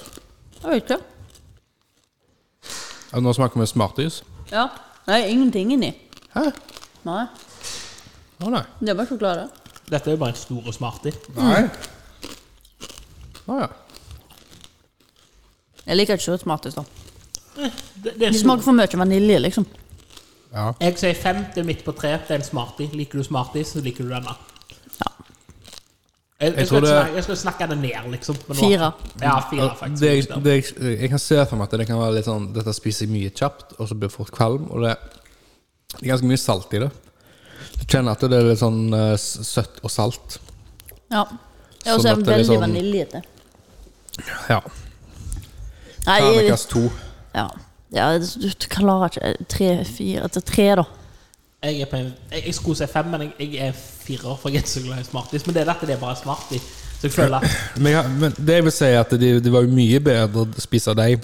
Speaker 1: Jeg vet ikke.
Speaker 2: Ja, Nå smaker vi Smarties.
Speaker 1: Ja. Nei, ingenting inni.
Speaker 2: Hæ?
Speaker 1: Nei.
Speaker 2: Å nei.
Speaker 1: Det var sjokolade.
Speaker 3: Dette er jo bare en stor og smarty.
Speaker 1: Mm.
Speaker 2: Nei. Å ja.
Speaker 1: Jeg liker ikke liksom. så smartis, da.
Speaker 3: Det, det er
Speaker 1: Det
Speaker 3: stor.
Speaker 1: smaker for mye vanilje, liksom.
Speaker 2: ja.
Speaker 3: Jeg sier fem. Det er midt på tre. Det er en smarty. Liker du smarty, så liker du denne.
Speaker 1: Ja.
Speaker 2: Jeg
Speaker 3: Jeg, jeg, skal,
Speaker 2: tror
Speaker 3: ikke
Speaker 2: det-
Speaker 3: snakke, jeg skal snakke det ned, liksom. men nå-
Speaker 1: Fire.
Speaker 3: Ja, fire,
Speaker 2: Det,
Speaker 3: faktisk.
Speaker 2: jeg- det, jeg- jeg kan se for meg at det kan være litt sånn Dette spiser jeg mye kjapt, og så blir jeg fort kvalm. Og det, det er ganske mye salt i det. Du kjenner at det er litt sånn eh, s- søtt og salt.
Speaker 1: Ja. Jeg er også
Speaker 2: Sånn at det er
Speaker 1: veldig
Speaker 2: litt sånn-
Speaker 1: vaniljete.
Speaker 2: Ja.
Speaker 1: Nei, jeg,
Speaker 2: Terningkast to.
Speaker 1: ja. ja, du du klarer ikke eh, Tre, fire til tre, da.
Speaker 3: Jeg, er på en, jeg, jeg skulle si fem, men jeg, jeg er firer, for jeg er ikke så glad i smarties. Men det er dette det er bare smarty. Så jeg føler at
Speaker 2: Men, jeg- men det jeg vil si, er at det de var jo mye bedre å spise dem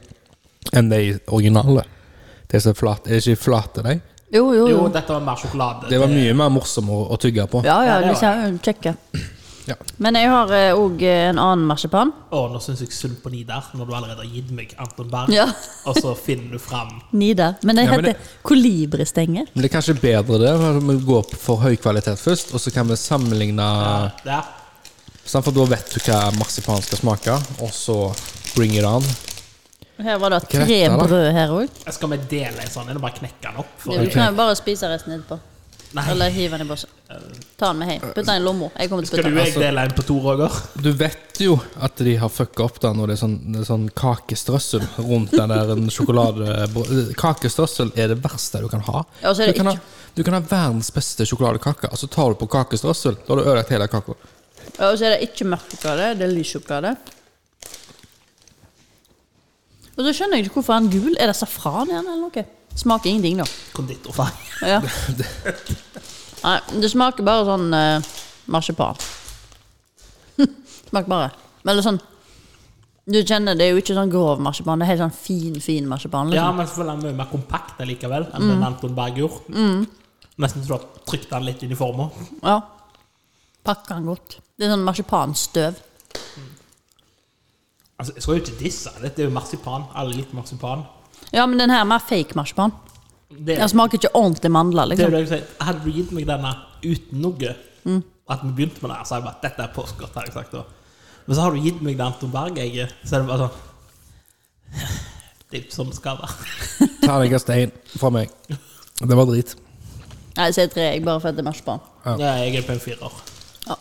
Speaker 2: enn de originale. De som er flat, er det ikke flate, de?
Speaker 1: Jo, jo,
Speaker 3: jo,
Speaker 1: jo.
Speaker 3: dette var mer sjokolade.
Speaker 2: Det var mye mer morsomt å, å tygge på.
Speaker 1: Ja, ja,
Speaker 3: Ja, det
Speaker 1: de
Speaker 3: var-
Speaker 1: ser jo kjekke
Speaker 2: Ja.
Speaker 1: Men jeg har òg en annen marsipan.
Speaker 3: Å, nå syns jeg synd på Nidar, når du allerede har gitt meg Anton Berg.
Speaker 1: Ja.
Speaker 3: Og så finner du fram
Speaker 1: Nida. Men den
Speaker 2: Ja, men
Speaker 1: heter kolibristenge.
Speaker 2: Men det er kanskje bedre det. at Vi går opp for høy kvalitet først, og så kan vi sammenligne
Speaker 3: der.
Speaker 2: sant? For da vet du hva marsipan skal smake, og så bring it on.
Speaker 1: Her var det
Speaker 2: Hva er
Speaker 1: tre
Speaker 2: dette, da?
Speaker 1: brød her òg.
Speaker 3: Skal vi dele en sånn, eller bare knekke den opp? For,
Speaker 1: Du kan jo bare spise resten etterpå. Eller
Speaker 3: nei.
Speaker 1: hive den i bosset. Ta den med hjem. Putt den i lomma. Jeg kommer til å
Speaker 3: Skal
Speaker 1: putte
Speaker 3: du
Speaker 1: den.
Speaker 3: og jeg dele en på to, Roger?
Speaker 2: Du vet jo at de har fucka opp da når det er sånn, det er sånn kakestrøssel rundt den der en sjokolade... Kakestrøssel er det verste du kan ha.
Speaker 1: Ja, så er det
Speaker 2: du, kan ha
Speaker 1: ikke-
Speaker 2: du kan ha verdens beste sjokoladekake, og så tar du på kakestrøssel. Da har du ødelagt hele kaka.
Speaker 1: Ja, Og så er det ikke mørk sjokolade, det er lys sjokolade. Og så skjønner jeg ikke hvorfor han er gul. Er det safran i den, eller noe? Smaker ingenting, da.
Speaker 3: Konditorfag.
Speaker 1: Ja. Nei, det smaker bare sånn eh, marsipan. smaker bare. Men det er sånn Du kjenner det er jo ikke sånn grov marsipan, det er helt sånn fin, fin marsipan.
Speaker 3: Ja,
Speaker 1: Liksom.
Speaker 3: men så føler jeg den er mye mer kompakt likevel enn den Anton Berg gjorde. Nesten så du har trykt den litt inn i forma.
Speaker 1: Ja. Pakker den godt. Det er sånn marsipanstøv.
Speaker 3: Altså, jeg skal jo ikke disse. Dette er jo marsipan. Alle liker marsipan.
Speaker 1: Ja, men den her er mer fake marsipan.
Speaker 3: Det,
Speaker 1: Den smaker ikke ordentlig mandler,
Speaker 3: det
Speaker 1: liksom.
Speaker 3: er jo det jeg sier. Hadde du gitt meg denne uten noe, at vi begynte med det, så hadde jeg bare Dette er postgodt, hadde jeg sagt da. Men så har du gitt meg det Anton Berg-egget, så er det bare sånn Det er ikke sånn det skal være.
Speaker 2: Terningkast én fra meg. Det var drit.
Speaker 1: Nei, så jeg tre, jeg bare fordi det er marsipan.
Speaker 2: Ja.
Speaker 3: Ja, jeg er på en firer.
Speaker 1: Ja.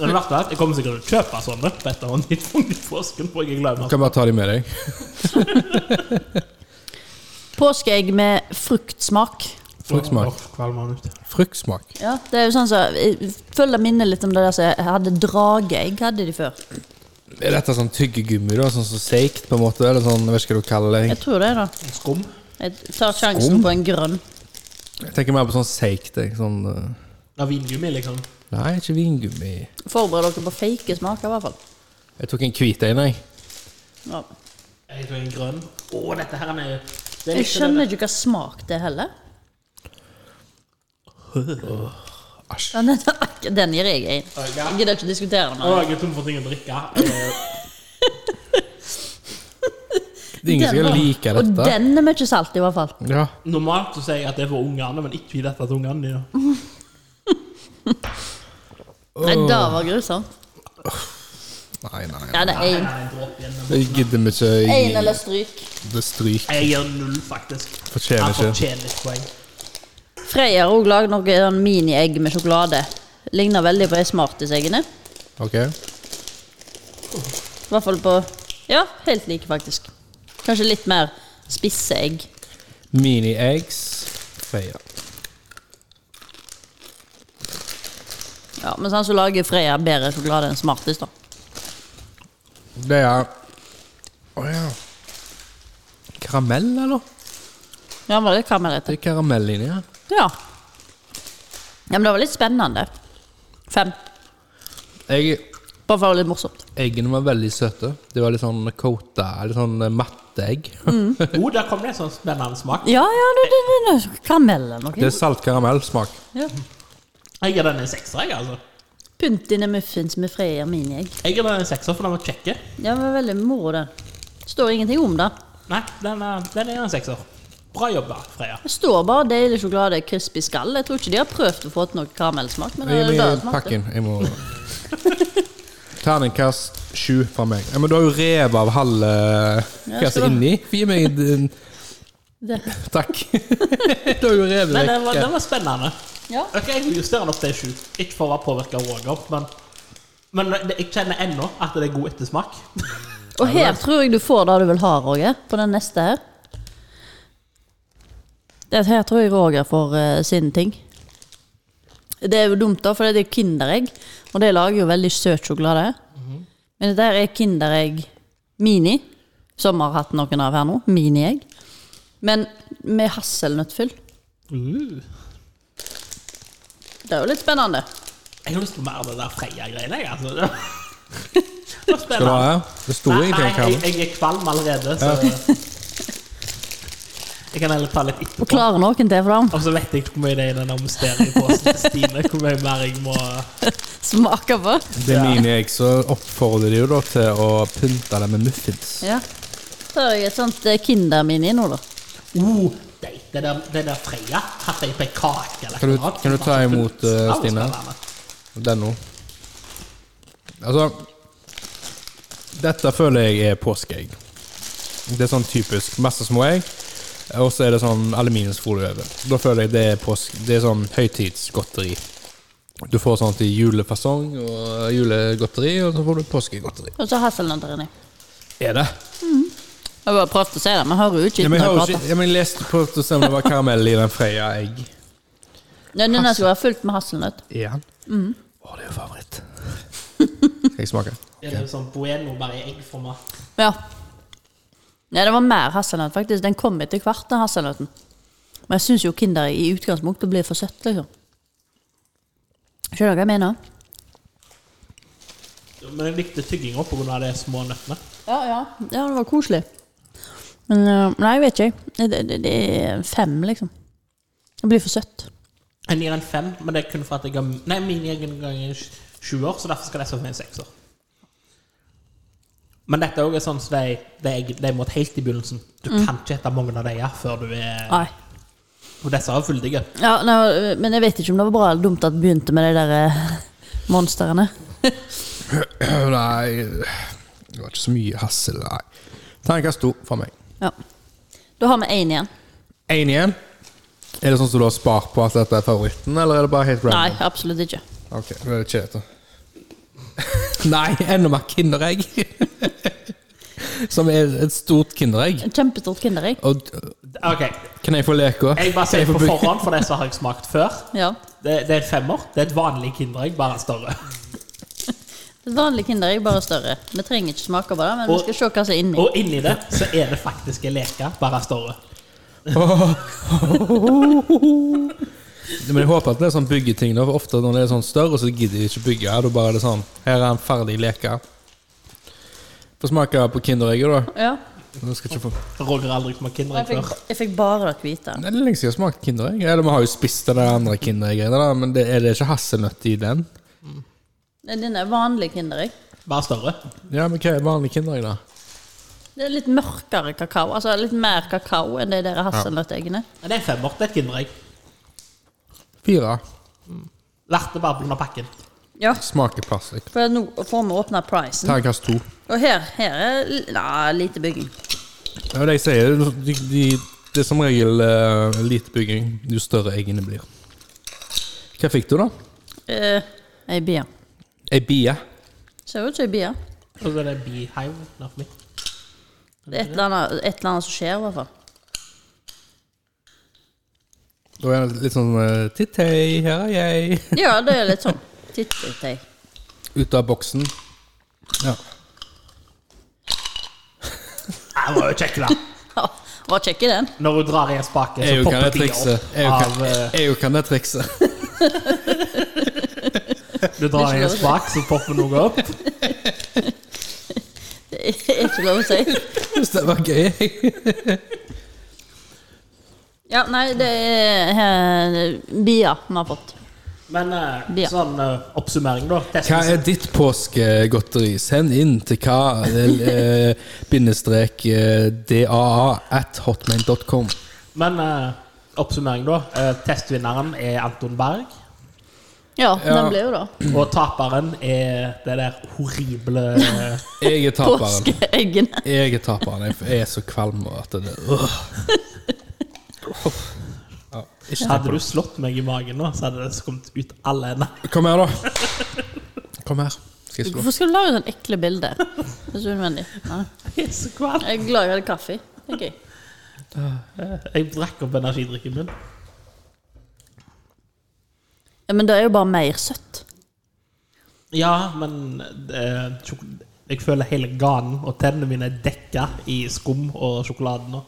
Speaker 3: Men i hvert fall, jeg kommer sikkert til å kjøpe sånne på et eller annet tidspunkt i påsken, for jeg er glad
Speaker 2: Du
Speaker 3: i marsipan.
Speaker 2: kan bare ta de med deg.
Speaker 1: Påskeegg med fruktsmak.
Speaker 2: Fruktsmak.
Speaker 3: Åh, kvalmer han ut.
Speaker 2: Fruktsmak.
Speaker 1: Ja, det er jo sånn som jeg Følger minnet litt om det der som jeg hadde drageegg, hadde de før.
Speaker 2: Er dette sånn tyggegummi, da? Sånn som seikt, på en måte? Eller sånn, jeg vet ikke hva du kaller det.
Speaker 1: Jeg tror det, da.
Speaker 3: Skum.
Speaker 1: Jeg tar sjansen
Speaker 2: Skum?
Speaker 1: på en grønn.
Speaker 2: Jeg tenker mer på sånn seikt. jeg, Sånn eh,
Speaker 3: Ja, vingummi, liksom.
Speaker 2: Nei, ikke vingummi.
Speaker 1: Forbered dere på fake smaker, i hvert fall.
Speaker 2: Jeg tok en hvit en, jeg.
Speaker 1: Ja.
Speaker 3: Jeg tror en grønn. Å, dette her er det er
Speaker 1: Jeg
Speaker 3: litt
Speaker 1: skjønner ikke hva smak det er heller.
Speaker 2: Æsj.
Speaker 1: Ja, den, den gir jeg en. Jeg gidder ikke diskutere den.
Speaker 3: Å,
Speaker 1: men-
Speaker 3: jeg er tom for ting å drikke. Eh,
Speaker 2: Det er ingen som
Speaker 1: Den
Speaker 2: kan
Speaker 1: var-
Speaker 2: like
Speaker 1: Og
Speaker 2: dette.
Speaker 1: den er mye salt, i hvert fall.
Speaker 2: Ja.
Speaker 3: Normalt så sier jeg at det er for ungene, men ikke i dette til ungene. Ja.
Speaker 1: Nei, det var grusomt.
Speaker 2: Nei, nei. nei.
Speaker 1: Ja, det er
Speaker 3: Nei,
Speaker 1: én.
Speaker 3: nei, en dråpe igjen.
Speaker 2: Jeg gidder vi ikke.
Speaker 1: Én eller
Speaker 2: Jeg,
Speaker 1: stryk.
Speaker 2: det stryk.
Speaker 3: Jeg gir null, faktisk.
Speaker 2: Fortjener
Speaker 3: Han
Speaker 2: ikke.
Speaker 3: fortjener et poeng.
Speaker 1: Freya har òg lagd noe sånn mini-egg med sjokolade. Ligner veldig på de smartiseggene.
Speaker 2: Ok.
Speaker 1: I hvert fall på Ja, helt like, faktisk. Kanskje litt mer spisse egg.
Speaker 2: Mini-eggs. Freia.
Speaker 1: Ja, Mens han som lager Freia bedre sjokolade enn Smartis, da.
Speaker 2: Det er Å ja. Karamell, eller?
Speaker 1: Ja, var det karamellete?
Speaker 2: Det er karamell inni her.
Speaker 1: Ja. ja. Men det var litt spennende. Fem.
Speaker 2: Jeg,
Speaker 1: Bare for å være litt morsomt.
Speaker 2: eggene var veldig søte. De var litt sånn coata, litt sånn eh, matte egg.
Speaker 1: Mm.
Speaker 3: Oh, der kom det en sånn spennende smak.
Speaker 1: Ja, ja, det, det, det, det. karamell eller
Speaker 2: Det
Speaker 1: noe.
Speaker 2: er saltkaramellsmak.
Speaker 1: Ja.
Speaker 3: Jeg gir den en sekser, jeg, altså.
Speaker 1: Pynt inn i muffins med Freia miniegg.
Speaker 3: Jeg gir den en sekser, for den var kjekke.
Speaker 1: Ja, det var veldig moro, den. Står ingenting om det.
Speaker 3: Nei, den er, den er en sekser. Bra jobba, Freya.
Speaker 1: Det står bare deilig sjokolade, crispy skall. Jeg tror ikke de har prøvd å få til noe karamellsmak. Men det
Speaker 2: Jeg
Speaker 1: er det
Speaker 2: gir meg
Speaker 1: det smakte.
Speaker 2: pakken. Jeg må Terningkast sju fra meg. Ja, men du har jo revet av eh, halve
Speaker 1: Ja,
Speaker 2: kassa
Speaker 1: skal du ha.
Speaker 2: inni. Gi meg din
Speaker 1: Det.
Speaker 2: Takk. du har jo revet
Speaker 3: Men den
Speaker 2: vekk.
Speaker 3: var, den var spennende.
Speaker 1: Ja.
Speaker 3: Ok, Jeg vil justere den opp til sju. Ikke for å være påvirka av Roger, men men det- jeg kjenner ennå at det er god ettersmak.
Speaker 1: Og her tror jeg du får det du vil ha, Roger. På den neste her. Det her tror jeg Roger får eh, sin ting. Det er jo dumt, da, for det er jo Kinderegg. Og det lager jo veldig søt sjokolade. Men dette her er Kinderegg Mini, som har hatt noen av her nå. Miniegg. Men med hasselnøttfyll.
Speaker 3: Uh.
Speaker 1: Det er jo litt spennende.
Speaker 3: Jeg har lyst på mer av det der Freya-greiene, jeg. altså. Det var
Speaker 2: Skal du
Speaker 3: spennende.
Speaker 2: ha? her? Det sto
Speaker 3: Nei,
Speaker 2: ingenting
Speaker 3: nei
Speaker 2: om
Speaker 3: jeg,
Speaker 2: karamell.
Speaker 3: jeg er kvalm allerede, så Jeg kan heller ta litt etterpå.
Speaker 1: Og klarer noen til for dem.
Speaker 3: Og så vet jeg ikke hvor mye det er i den der mysterieposen til Stine. Hvor mye mer jeg må
Speaker 1: Smaker på.
Speaker 2: Det er mine egg, så oppfordrer de jo da til å pynte det med muffins.
Speaker 1: Ja. Tar jeg et sånt eh, Kinder-mini nå, da.
Speaker 3: oh, det, det, der, det der Freya hadde jeg på en kake eller
Speaker 2: Kan du-
Speaker 3: et eller annet.
Speaker 2: kan du ta imot, eh,
Speaker 3: Det var
Speaker 2: Stine?
Speaker 3: spennende.
Speaker 2: Den nå. Altså Dette føler jeg er påskeegg. Det er sånn typisk. Masse små egg, og så er det sånn aluminiumsfolie over. Da føler jeg det er påsk... Det er sånn høytidsgodteri. Du får sånn til julefasong og julegodteri, og så får du påskegodteri.
Speaker 1: Og så hasselnøtter inni.
Speaker 2: Er det?
Speaker 1: Jeg bare prøvde å si det, men hører jo ikke
Speaker 2: Ja,
Speaker 1: etter
Speaker 2: men jeg,
Speaker 1: når jeg
Speaker 2: har jo
Speaker 1: prater.
Speaker 2: ikke, ja, men jeg leste på å se om det var karamell i den Freia-egg.
Speaker 1: Ja, Denne skal være fullt med hasselnøtt.
Speaker 2: Er han? Å, det er jo favoritt. Mm. Skal jeg smake?
Speaker 3: Er det sånn bueno bare i eggformat?
Speaker 1: Ja. Nei, det var mer hasselnøtt, faktisk. Den kom etter hvert, den hasselnøtten. Men jeg syns jo Kinder i utgangspunktet blir for søtt, liksom. Skjønner du hva jeg mener?
Speaker 3: Men jeg likte tygginga pga. de små nøttene.
Speaker 1: Ja, ja. Ja, det var koselig. Men øh, nei, jeg vet ikke. jeg. Det, det, det er fem, liksom. Det blir for søtt.
Speaker 3: Jeg gir en fem, men det er kun for at jeg har Nei, min egen gang er sj- sjuer, så derfor skal disse få en sekser. Men dette er også sånn som de, de, de måtte helt i begynnelsen. Du kan ikke spise mange av de her før du er
Speaker 1: Nei.
Speaker 3: Og disse er fyldige.
Speaker 1: Ja, nei, øh, men jeg vet ikke om det var bra eller dumt at det begynte med de der øh, monstrene.
Speaker 2: Nei Det var ikke så mye hassel, nei. Terningkast to fra meg.
Speaker 1: Ja. Da har vi én igjen.
Speaker 2: Én igjen. Er det sånn som du har spart på at dette er favoritten, eller er det bare helt
Speaker 1: Nei,
Speaker 2: random?
Speaker 1: absolutt ikke.
Speaker 2: Ok, da er det kjedelig. nei, enda mer Kinderegg! Som er et stort Kinderegg.
Speaker 1: Et Kjempestort kinderegg.
Speaker 2: Og
Speaker 3: OK.
Speaker 2: kan jeg få leke?
Speaker 3: Jeg bare
Speaker 2: Kan
Speaker 3: sier
Speaker 2: jeg
Speaker 3: på
Speaker 2: få bruke-
Speaker 3: forhånd, for disse har jeg smakt før.
Speaker 1: Ja.
Speaker 3: Det, det er en femmer. Det er et vanlig Kinderegg, bare større.
Speaker 1: Et vanlig kinderegg, bare større. Vi trenger ikke smake på det, men
Speaker 3: Og-
Speaker 1: vi skal se hva som er inni.
Speaker 3: Og inni det så er det faktisk en leke, bare større.
Speaker 2: Men jeg håper at det er sånn byggeting. Da, for ofte når det er sånn større, så gidder de ikke bygge. Da bare er det sånn Her er en ferdig leke. Få smake på Kinderegget, da.
Speaker 1: Ja.
Speaker 2: Nå skal jeg ikke få
Speaker 3: Roger har aldri smakt
Speaker 1: Jeg
Speaker 3: Kinderegg
Speaker 1: fikk,
Speaker 3: før.
Speaker 1: jeg fikk bare det hvite.
Speaker 2: Nei, Det er lenge siden jeg har smakt Kinderegg. Eller vi har jo spist den der andre Kinderegg-greiene, da, men det, er det ikke hasselnøtt i den?
Speaker 1: Nei, Denne er vanlig kinderegg.
Speaker 3: Bare større.
Speaker 2: Ja, men hva er vanlig Kinderegg, da?
Speaker 1: Det er litt mørkere kakao. Altså litt mer kakao enn de der hasselnøtteggene.
Speaker 3: Men det er en femmer. Det er et Kinderegg.
Speaker 2: Fire.
Speaker 3: Verdt det bare pga. pakken.
Speaker 1: Ja.
Speaker 2: Smaker plastikk.
Speaker 1: For nå får vi åpna prisen.
Speaker 2: Terningkast to.
Speaker 1: Og her, her er l- Nei, lite bygging.
Speaker 2: Det er jo det jeg sier. De, de, det er som regel eh, lite bygging jo større eggene blir. Hva fikk du, da?
Speaker 1: Eh, ei bie.
Speaker 2: Ei bie.
Speaker 1: Ser ut som ei bie.
Speaker 3: Og så er det beehive der for meg.
Speaker 1: Det er et eller annet, et eller annet som skjer, i hvert fall.
Speaker 2: Da er det litt sånn eh, Titt hei, her er jeg.
Speaker 1: Ja, det er litt sånn. Titt, titt, titt.
Speaker 2: Ut av boksen. Ja.
Speaker 3: Nei, det var jo kjekk, da.
Speaker 1: Ja, var kjekk i den.
Speaker 3: Når hun drar i en spake,
Speaker 2: Jeg
Speaker 3: så
Speaker 2: jo kan
Speaker 3: popper
Speaker 2: det
Speaker 3: de
Speaker 2: trikset.
Speaker 3: opp
Speaker 2: Jeg jo
Speaker 3: av
Speaker 2: kan-
Speaker 3: eh,
Speaker 2: jeg jo kan det trikset.
Speaker 3: Du
Speaker 1: Det er
Speaker 3: drar i en
Speaker 1: ikke lov.
Speaker 3: spak, så popper noe opp.
Speaker 1: Det er ikke lov å si.
Speaker 2: Hvis det var gøy.
Speaker 1: Ja, nei, det er eh, bier vi har fått.
Speaker 3: Men eh,
Speaker 1: Ja.
Speaker 3: sånn eh, oppsummering, da.
Speaker 2: Hva er ditt påskegodteri? Send inn til hva eh, bindestrek eh, daa at hotmail.com.
Speaker 3: Men eh, oppsummering, da. Eh, testvinneren er Anton Berg.
Speaker 1: Ja,
Speaker 2: Ja.
Speaker 1: den ble jo da
Speaker 3: Og taperen er det der horrible eh,
Speaker 2: Jeg er taperen.
Speaker 1: påskeeggene.
Speaker 2: Jeg er taperen. Jeg er så kvalm og at det øh. Ja, ikke tenk
Speaker 3: Hadde
Speaker 2: på
Speaker 3: du slått meg i magen nå, så hadde det kommet ut alle ender.
Speaker 2: det. Kom her, da. Kom her. Skal jeg slå?
Speaker 1: Hvorfor skal du lage sånne ekle bilder? Det er så unødvendig. Nei.
Speaker 3: Jeg er så kvalm.
Speaker 1: Jeg er glad jeg hadde kaffe, tenker jeg.
Speaker 3: Jeg drakk opp energidrikken min.
Speaker 1: Ja, men det er jo bare mer søtt.
Speaker 3: Ja, men eh, sjok- jeg føler hele ganen og tennene mine er dekka i skum og sjokolade nå.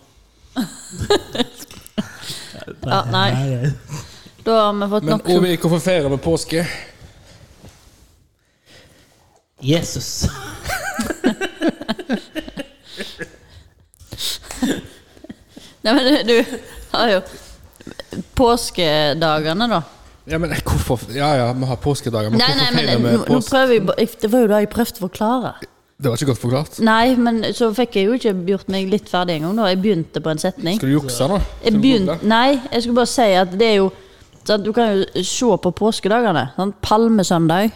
Speaker 1: Ja, nei. Da har vi fått
Speaker 2: Men
Speaker 1: nok
Speaker 2: Ovi, hvorfor feirer vi påske?
Speaker 3: Jesus.
Speaker 1: Nei, men du har jo Påskedagene, da.
Speaker 2: Ja, men hvorfor Ja ja, vi har påskedager, men
Speaker 1: Nei, nei,
Speaker 2: hvorfor
Speaker 1: men
Speaker 2: feirer
Speaker 1: nå,
Speaker 2: vi
Speaker 1: nå
Speaker 2: påske?
Speaker 1: prøver jeg bare Det var jo det jeg prøvde å forklare.
Speaker 2: Det var ikke godt forklart.
Speaker 1: Nei, men så fikk jeg jo ikke gjort meg litt ferdig engang. da. Jeg begynte på en setning.
Speaker 2: Skal du jukse nå? Skal
Speaker 1: Jeg
Speaker 2: du
Speaker 1: begynte,
Speaker 2: google?
Speaker 1: nei, jeg skulle bare si at det er jo sant, Du kan jo se på påskedagene. Sant? Palmesøndag.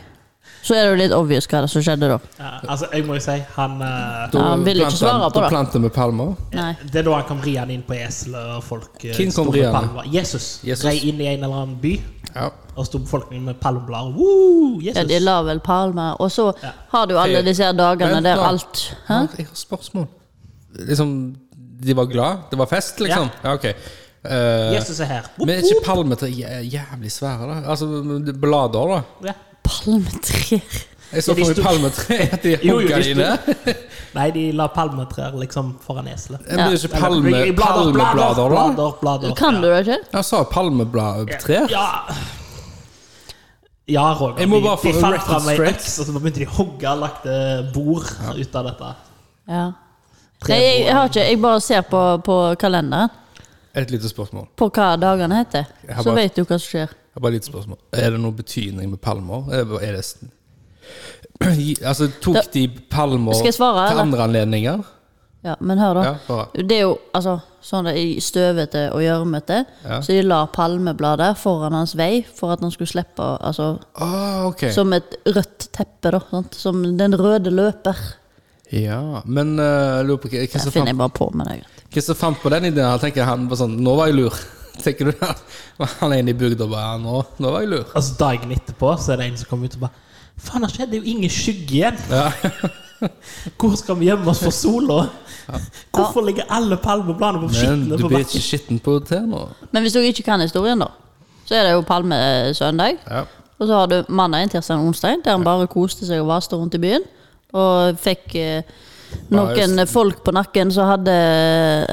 Speaker 1: Så er det jo litt obvious hva det som skjedde da.
Speaker 3: Ja, altså, jeg må jo si han eh,
Speaker 1: Ja, han ville ikke
Speaker 2: planter-
Speaker 1: svare på
Speaker 2: Da
Speaker 1: det.
Speaker 2: planter vi palmer.
Speaker 1: Nei.
Speaker 3: Det er da han kom riende inn på eselet, og folk eh,
Speaker 2: Hvem kom
Speaker 3: sto med
Speaker 2: riende?
Speaker 3: palmer. Jesus.
Speaker 2: Jesus.
Speaker 3: Rei inn i en eller annen by,
Speaker 2: Ja.
Speaker 3: og sto befolkningen med palmeblad. Woo, Jesus.
Speaker 1: Ja, de la vel palmer. Og så
Speaker 3: Ja.
Speaker 1: har du alle disse her dagene
Speaker 2: Vent
Speaker 1: der
Speaker 2: nå.
Speaker 1: alt Hæ?
Speaker 2: Jeg har spørsmål. Liksom, de var glad? Det var fest, liksom? Ja, ok. Eh,
Speaker 3: Jesus er her. Woo,
Speaker 2: men er ikke palmetre jæ- jævlig svære, da? Altså det- blader, da?
Speaker 3: woo. Ja.
Speaker 1: Palmetrær.
Speaker 2: Jeg så
Speaker 3: Ja, de
Speaker 2: for meg
Speaker 3: sto-
Speaker 2: palmetre at de
Speaker 3: Jo, jo,
Speaker 2: hogga de
Speaker 3: de sto-
Speaker 2: ned.
Speaker 3: Nei, de la palmetrær liksom foran eselet.
Speaker 2: Men det er ikke palme,
Speaker 3: Eller, blader,
Speaker 2: palmeblader, da?
Speaker 3: blader, blader.
Speaker 1: Kan du det ikke?
Speaker 2: Jeg sa palmeblad-trær.
Speaker 3: Ja. Ja, Roger.
Speaker 2: Jeg må
Speaker 3: de-
Speaker 2: bare få
Speaker 3: de fant
Speaker 2: reference
Speaker 3: fram ei
Speaker 2: straight.
Speaker 3: øks, og så begynte de å hogge og lagde bord ut av dette.
Speaker 1: Ja. Nei, jeg, jeg har ikke Jeg bare ser på, på kalenderen.
Speaker 2: Et lite spørsmål.
Speaker 1: På hva dagene heter.
Speaker 2: Jeg har
Speaker 1: Så
Speaker 2: bare-
Speaker 1: vet du hva som skjer.
Speaker 2: Jeg har Bare et lite spørsmål. Er det noe betydning med palmer? Er det- Er det Altså, tok
Speaker 1: Da-
Speaker 2: de palmer
Speaker 1: Skal jeg svare,
Speaker 2: til
Speaker 1: eller?
Speaker 2: andre anledninger?
Speaker 1: Ja, men hør, da.
Speaker 2: Ja, bare.
Speaker 1: Det er jo altså, sånn det er i støvete og gjørmete.
Speaker 2: Ja.
Speaker 1: Så de la palmeblader foran hans vei for at han skulle slippe altså,
Speaker 2: Ah, ok.
Speaker 1: Som et rødt teppe, da. Sant? Som den røde løper.
Speaker 2: Ja, men eh, lurer på hva- hva
Speaker 1: Det
Speaker 2: som
Speaker 1: finner
Speaker 2: fant,
Speaker 1: jeg bare på, men det er greit.
Speaker 2: hva som fant på den ideen? Han tenker han var sånn Nå var jeg lur. Tenker du det? Han er inne i bygda og bare nå, nå var jeg lur.
Speaker 3: Altså Dagen etterpå så er det en som kommer ut og bare Faen, det skjedde jo ingen skygge igjen!
Speaker 2: Ja.
Speaker 3: Hvor skal vi gjemme oss for sola? Hvorfor ligger alle palmebladene på
Speaker 2: Men
Speaker 3: skitne
Speaker 2: du
Speaker 3: på
Speaker 2: blir ikke
Speaker 3: bakken?
Speaker 2: skitten på te nå.
Speaker 1: Men hvis dere ikke kan historien, da, så er det jo palmesøndag.
Speaker 2: Ja.
Speaker 1: Og så har du mandag, tirsdag og onsdag, der han bare koste seg og vaste rundt i byen. Og fikk eh, noen folk på nakken som hadde,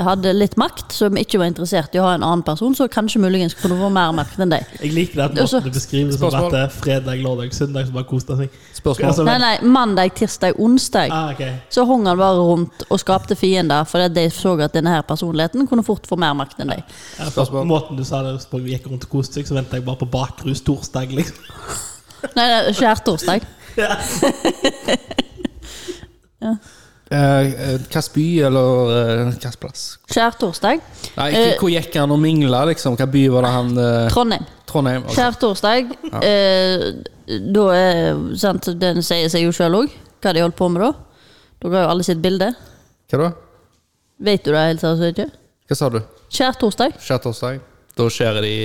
Speaker 1: hadde litt makt, som ikke var interessert i å ha en annen person, så kanskje muligens kunne få mer makt enn deg.
Speaker 3: Jeg liker det at
Speaker 1: Altså,
Speaker 3: måten du beskriver det som
Speaker 2: spørsmål.
Speaker 3: at det er fredag, lørdag, søndag som bare koste seg.
Speaker 2: Spørsmål?
Speaker 3: Altså,
Speaker 1: Nei, nei, mandag, tirsdag, onsdag.
Speaker 3: Ah, ok.
Speaker 1: Så hong han bare rundt og skapte fiender fordi at de så at denne her personligheten kunne fort få mer makt enn deg.
Speaker 3: Ja, for
Speaker 2: Spørsmål.
Speaker 3: Måten du sa det på, vi gikk rundt og koste seg, så venta jeg bare på bakrus torsdag, liksom.
Speaker 1: Nei, nei, skjærtorsdag.
Speaker 3: Ja.
Speaker 2: Eh, eh, Hvilken by eller eh, hvilken plass?
Speaker 1: Skjærtorsdag.
Speaker 2: Nei,
Speaker 1: Eh,
Speaker 2: ikke, hvor gikk han og mingla, liksom? Hvilken by var det han eh,
Speaker 1: Trondheim.
Speaker 2: Trondheim? ok.
Speaker 1: Skjærtorsdag. Eh, da er sant, Den sier seg jo sjøl òg, hva de holdt på med da. Dere har jo alle sitt bilde.
Speaker 2: Hva da?
Speaker 1: Vet du det helt seriøst ikke?
Speaker 2: Hva sa du?
Speaker 1: Skjærtorsdag.
Speaker 2: Skjærtorsdag? Da skjærer de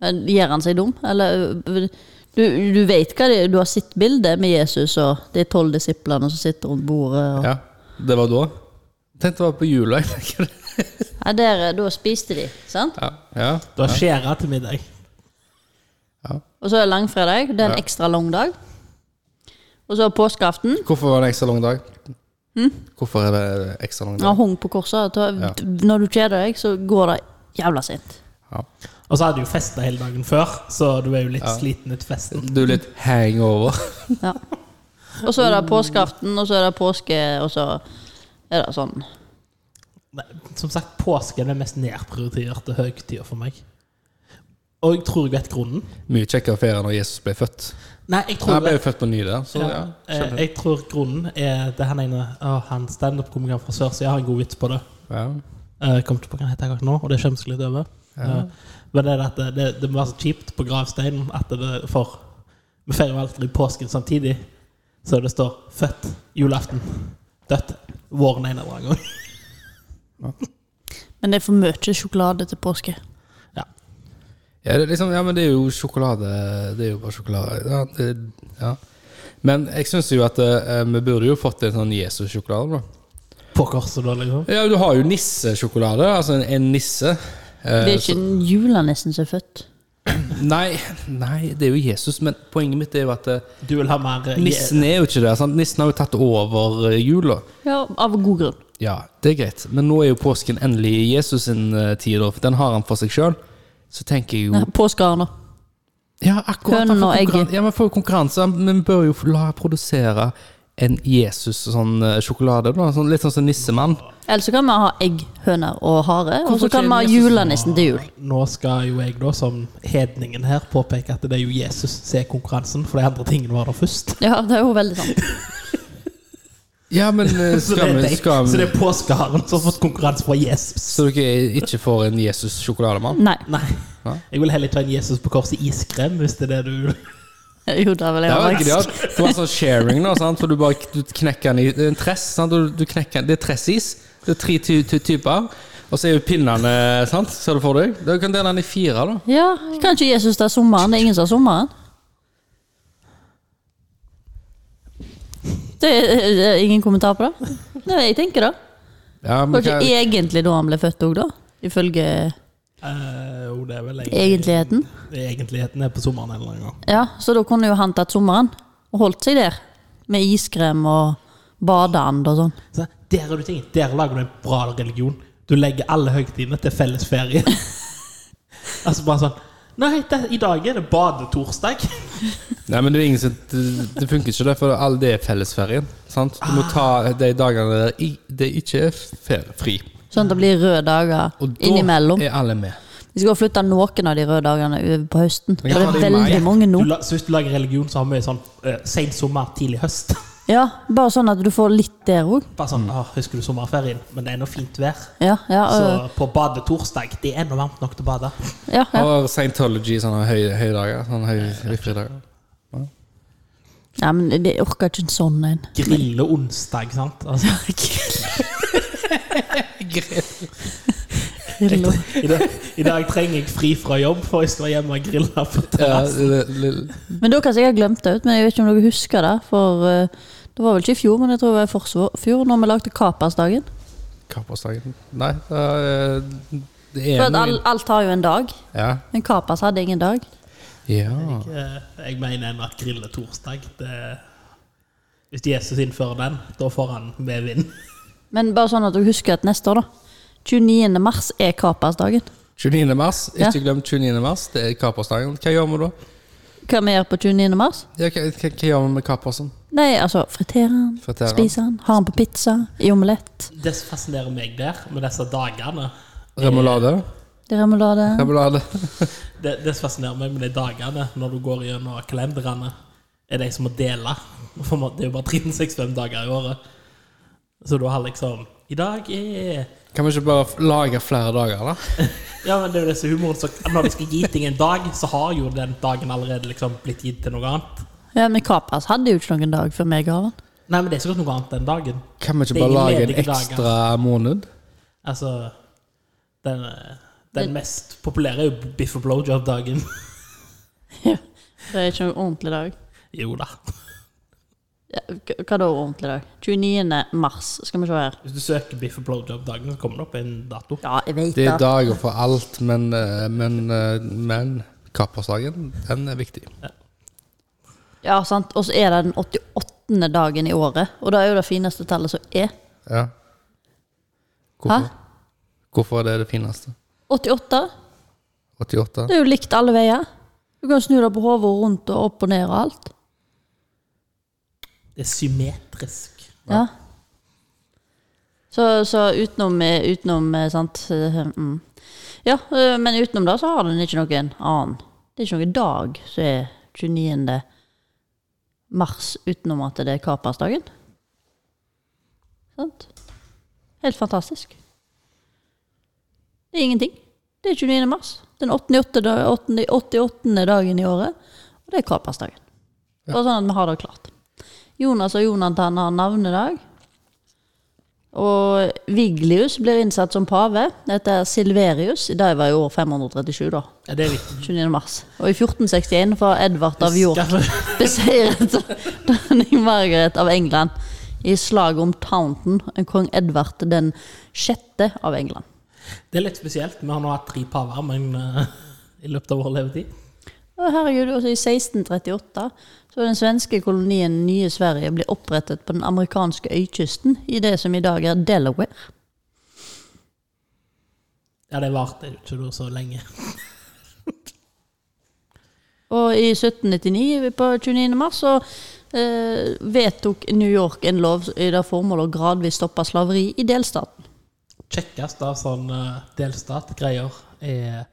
Speaker 1: Men Gjør han seg dum? Eller øh, Du, du vet hva det er, du har sett bildet med Jesus og de tolv disiplene som sitter rundt bordet. Og, ja.
Speaker 2: Ja, det var da. Tenkte det var på jula. jeg tenker det.
Speaker 1: der, da spiste de, sant?
Speaker 2: Ja, ja,
Speaker 3: Du har skjæra til middag.
Speaker 2: ja.
Speaker 1: Og så er det langfredag, det er en
Speaker 2: Ja.
Speaker 1: ekstra lang dag. Og så er påskeaften.
Speaker 2: Hvorfor var det en ekstra lang dag?
Speaker 3: Hm?
Speaker 2: Hvorfor er det ekstra lang
Speaker 1: Ja,
Speaker 2: dag?
Speaker 1: hung på korset. Da, Når du kjeder deg, så går det jævla sent.
Speaker 2: Ja.
Speaker 3: Og så hadde du festa hele dagen før, så du er jo litt sliten etter festen.
Speaker 2: Du er litt hangover.
Speaker 1: Ja. Og så er det påskeaften, og så er det påske, og så er det sånn.
Speaker 3: Nei, Som sagt, påsken er den mest nedprioriterte høytida for meg. Og jeg tror jeg vet grunnen.
Speaker 2: Mye kjekkere ferie når Jesus ble født.
Speaker 3: Nei, jeg tror
Speaker 2: Han ble jo født på ny der, så ja.
Speaker 3: Ja, eh, jeg tror grunnen er det han ene å, Han standup-komikeren fra Sørsida har en god vits på det.
Speaker 2: ja.
Speaker 3: Eh, Jeg kom ikke på hva han heter akkurat nå, og det skjemmer jeg litt over. Eh, Men det er det at det, det, det må være så kjipt på gravsteinen at det for Vi feirer jo alltid påsken samtidig, så det står 'født julaften', 'dødt våren en eller annen gang'.
Speaker 1: Men det er for mye sjokolade til påske.
Speaker 2: Ja, det er liksom, ja, men det er jo sjokolade. Det er jo bare sjokolade. Ja, det, ja. Men jeg syns jo at eh, vi burde jo fått en sånn Jesus-sjokolade, da.
Speaker 3: På korset, da, liksom.
Speaker 2: Ja, du har jo nissesjokolade. Altså en, en nisse. Eh,
Speaker 1: Det er ikke julenissen som er født.
Speaker 2: Nei, nei, det er jo Jesus, men poenget mitt er jo at eh,
Speaker 3: Du vil ha mer eh,
Speaker 2: nissen er jo ikke der. Sant? Nissen har jo tatt over eh, jula.
Speaker 1: Ja, Av god grunn.
Speaker 2: Ja, det er greit, men nå er jo påsken endelig i Jesus sin eh, tid, da, for den har han for seg sjøl. Så tenker jeg jo
Speaker 1: Nei, Påskehaner.
Speaker 2: Ja, akkurat.
Speaker 1: Hønen
Speaker 2: han får
Speaker 1: og egget.
Speaker 2: konkurran- Ja, men får jo konkurranse. han- Men vi bør jo la produsere en Jesus-sjokolade, da. Sånn, litt sånn som nissemann.
Speaker 1: Eller så kan vi ha egg, høner og hare. Og
Speaker 2: Hvorfor
Speaker 1: så kan vi
Speaker 2: ikke
Speaker 1: ha
Speaker 2: Jesus?
Speaker 1: julenissen til jul.
Speaker 3: Nå skal jo jeg, da, som hedningen her, påpeke at det er jo Jesus som er konkurransen, for de andre tingene var der først.
Speaker 1: Ja, det er jo veldig sant.
Speaker 2: Ja, men eh,
Speaker 3: Så det,
Speaker 2: skal vi
Speaker 3: er
Speaker 2: skal
Speaker 3: deg. så det
Speaker 2: vi-
Speaker 3: er påskeharen som har fått konkurranse fra Jesus.
Speaker 2: Så dere ikke får en Jesus-sjokolademann?
Speaker 1: Nei.
Speaker 3: Nei.
Speaker 2: Ja.
Speaker 3: Jeg vil heller ta en Jesus på korset iskrem, hvis det er det du
Speaker 1: Jo, det vil
Speaker 2: Det
Speaker 1: jeg
Speaker 2: var
Speaker 1: ha.
Speaker 2: ikke det. at Det var sånn sharing, da, sant? for du bare du knekker den i det er en tress. Sant? Du, du knekker, den- det er tressis. Det er tre ty ty typer. Og så er jo pinnene, sant? ser du for deg? Da kan du dele den i fire, da.
Speaker 1: Ja, Kanskje Jesus det er sommeren. Det er ingen som har sommeren. Det er, det er ingen kommentar på det? Nei, jeg tenker det.
Speaker 2: Ja, men
Speaker 1: Var ikke
Speaker 2: hva,
Speaker 1: egentlig da han ble født òg, da? Ifølge
Speaker 3: Eh, Jo, det er vel
Speaker 1: egentligheten?
Speaker 3: Egentligheten er på sommeren en eller annen gang.
Speaker 1: Ja, så da kunne jo han tatt sommeren og holdt seg der. Med iskrem og badeand og sånn.
Speaker 3: Så der er du ting. Der lager du en bra religion. Du legger alle høytidene til felles ferie. altså bare sånn Nei, det, i dag er det badetorsdag.
Speaker 2: nei, men det, er ingen, som- det, det funker ikke, det, for all det er fellesferien. Sant? Du må ta de dagene der i- det ikke er fer- fri.
Speaker 1: Sånn at det blir røde dager
Speaker 2: Og da
Speaker 1: innimellom.
Speaker 2: er alle med.
Speaker 1: Vi skal flytte noen av de røde dagene over på høsten. For
Speaker 2: kan
Speaker 1: det er
Speaker 2: ta det i
Speaker 1: veldig
Speaker 2: mai.
Speaker 1: mange nå.
Speaker 3: Du, la- så hvis du lager religion, så har vi sånn eh, sen sommer, tidlig høst.
Speaker 1: Ja, Bare sånn at du får litt der òg.
Speaker 3: Bare sånn «Åh, Husker du sommerferien? Men det er nå fint vær.
Speaker 1: Ja, ja,
Speaker 3: Så
Speaker 1: øh,
Speaker 3: på badetorsdag Det er nå varmt nok til å bade.
Speaker 1: ja, ja.
Speaker 2: Og Scientology sånne høy- høydager. Sånne høy, høyfridager.
Speaker 1: Nei, men det orker ikke en sånn en.
Speaker 3: Grille onsdag, sant? Altså, i, dag, I dag trenger jeg fri fra jobb, for jeg skal være hjemme og grille på
Speaker 2: Ja,
Speaker 3: terrassen.
Speaker 2: det- det-
Speaker 1: Men dere har sikkert glemt det ut, men jeg vet ikke om dere husker det. For eh, det var vel ikke i fjor, men jeg tror det var i forsfjor, når vi lagde Kapasdagen.
Speaker 2: Kappersdagen? Nei, det er, det er
Speaker 1: For at
Speaker 2: noe-
Speaker 1: all, alt har jo en dag,
Speaker 2: Ja.
Speaker 1: men Kapas hadde ingen dag.
Speaker 2: ja.
Speaker 3: Eh, Jeg mener ennå at grille torsdag det, Hvis Jesus innfører den, da får han med vind.
Speaker 1: Men bare sånn at dere husker at neste år, da. 29. mars er Kapasdagen.
Speaker 2: 29. mars.
Speaker 1: Ja.
Speaker 2: Ikke glem 29. mars. Det er kappersdagen. Hva gjør vi da?
Speaker 1: Hva vi gjør på 29. mars?
Speaker 2: Ja, hva, hva, hva gjør vi med kappersen?
Speaker 1: Nei, altså friterer den,
Speaker 2: Friterer den.
Speaker 1: spiser den, har den på pizza, i omelett,
Speaker 3: Det som fascinerer meg der, med disse dagene
Speaker 2: Remulade?
Speaker 1: det er remulade.
Speaker 2: Remulade.
Speaker 3: Det, det som fascinerer meg med de dagene, når du går gjennom kalenderne, er de som må dele. For man- Det er jo bare 365 dager i året. Så du har liksom I dag er
Speaker 2: Kan vi ikke bare f- lage flere dager, da?
Speaker 3: Ja, men det er jo det som er humoren. Så når du skal gi ting en dag, så har jo den dagen allerede liksom blitt gitt til noe annet.
Speaker 1: Ja, men Kapas hadde jo ikke noen dag før meg ga den.
Speaker 3: Nei, men det er sikkert noe annet den dagen.
Speaker 2: Kan vi
Speaker 3: Det
Speaker 2: ikke
Speaker 3: er
Speaker 2: bare
Speaker 3: ingen
Speaker 2: lage en
Speaker 3: ledige dager.
Speaker 2: ekstra måned?
Speaker 3: Altså eh, Den, den mest populære er jo biff og blowjob-dagen.
Speaker 1: Det er ikke noen ordentlig dag.
Speaker 3: Jo da.
Speaker 1: Ja, k- Hva da ordentlig dag? 29. mars, skal vi se her.
Speaker 3: Hvis du søker biff og blowjob-dagen, så kommer det opp en dato.
Speaker 1: Ja, jeg vet
Speaker 2: Det er
Speaker 1: det.
Speaker 2: dager for alt, men, eh, men, eh, men kappersdagen, den er viktig.
Speaker 1: Ja, sant. Og så er det den 88. dagen i året, og det er jo det fineste tallet som er.
Speaker 2: Ja. Hvorfor? Hvorfor er det det fineste?
Speaker 1: 88?
Speaker 2: 88?
Speaker 1: Det er jo likt alle veier. Du kan snu deg på hodet og rundt og opp og ned og alt.
Speaker 3: Det er symmetrisk.
Speaker 1: Ja. Så, så utenom, eh, utenom eh, sant eh, mm. Ja, eh, men utenom det så har den ikke noen annen. Det er ikke noen dag som er 29. mars utenom at det er kapersdagen. Sant? Helt fantastisk. Det er ingenting. Det er 29. mars. Den 88. da- 88. 88. dagen i året. Og det er kapersdagen. Bare sånn at vi har det klart. Jonas og Jonathan har navnedag. Og Viglius blir innsatt som pave etter Silverius. Det var i år 537, da.
Speaker 3: Ja, det er viktig.
Speaker 1: 29. mars. Og i 1461 får Edvard av York beseiret dronning Margaret av England i slaget om Taunton, en kong Edvard den sjette av England.
Speaker 3: Det er litt spesielt. Vi har nå hatt tre paver, men eh, i løpet av vår levetid.
Speaker 1: Å, herregud, også I 1638 så den svenske kolonien Nye Sverige ble opprettet på den amerikanske øykysten i det som i dag er Delaware.
Speaker 3: Ja, det varte jo ikke så lenge.
Speaker 1: Og i 1799, på 29. mars, så eh, vedtok New York en lov i det formålet å gradvis stoppe slaveri i delstaten.
Speaker 3: Kjekkest av sånn eh, delstatgreier er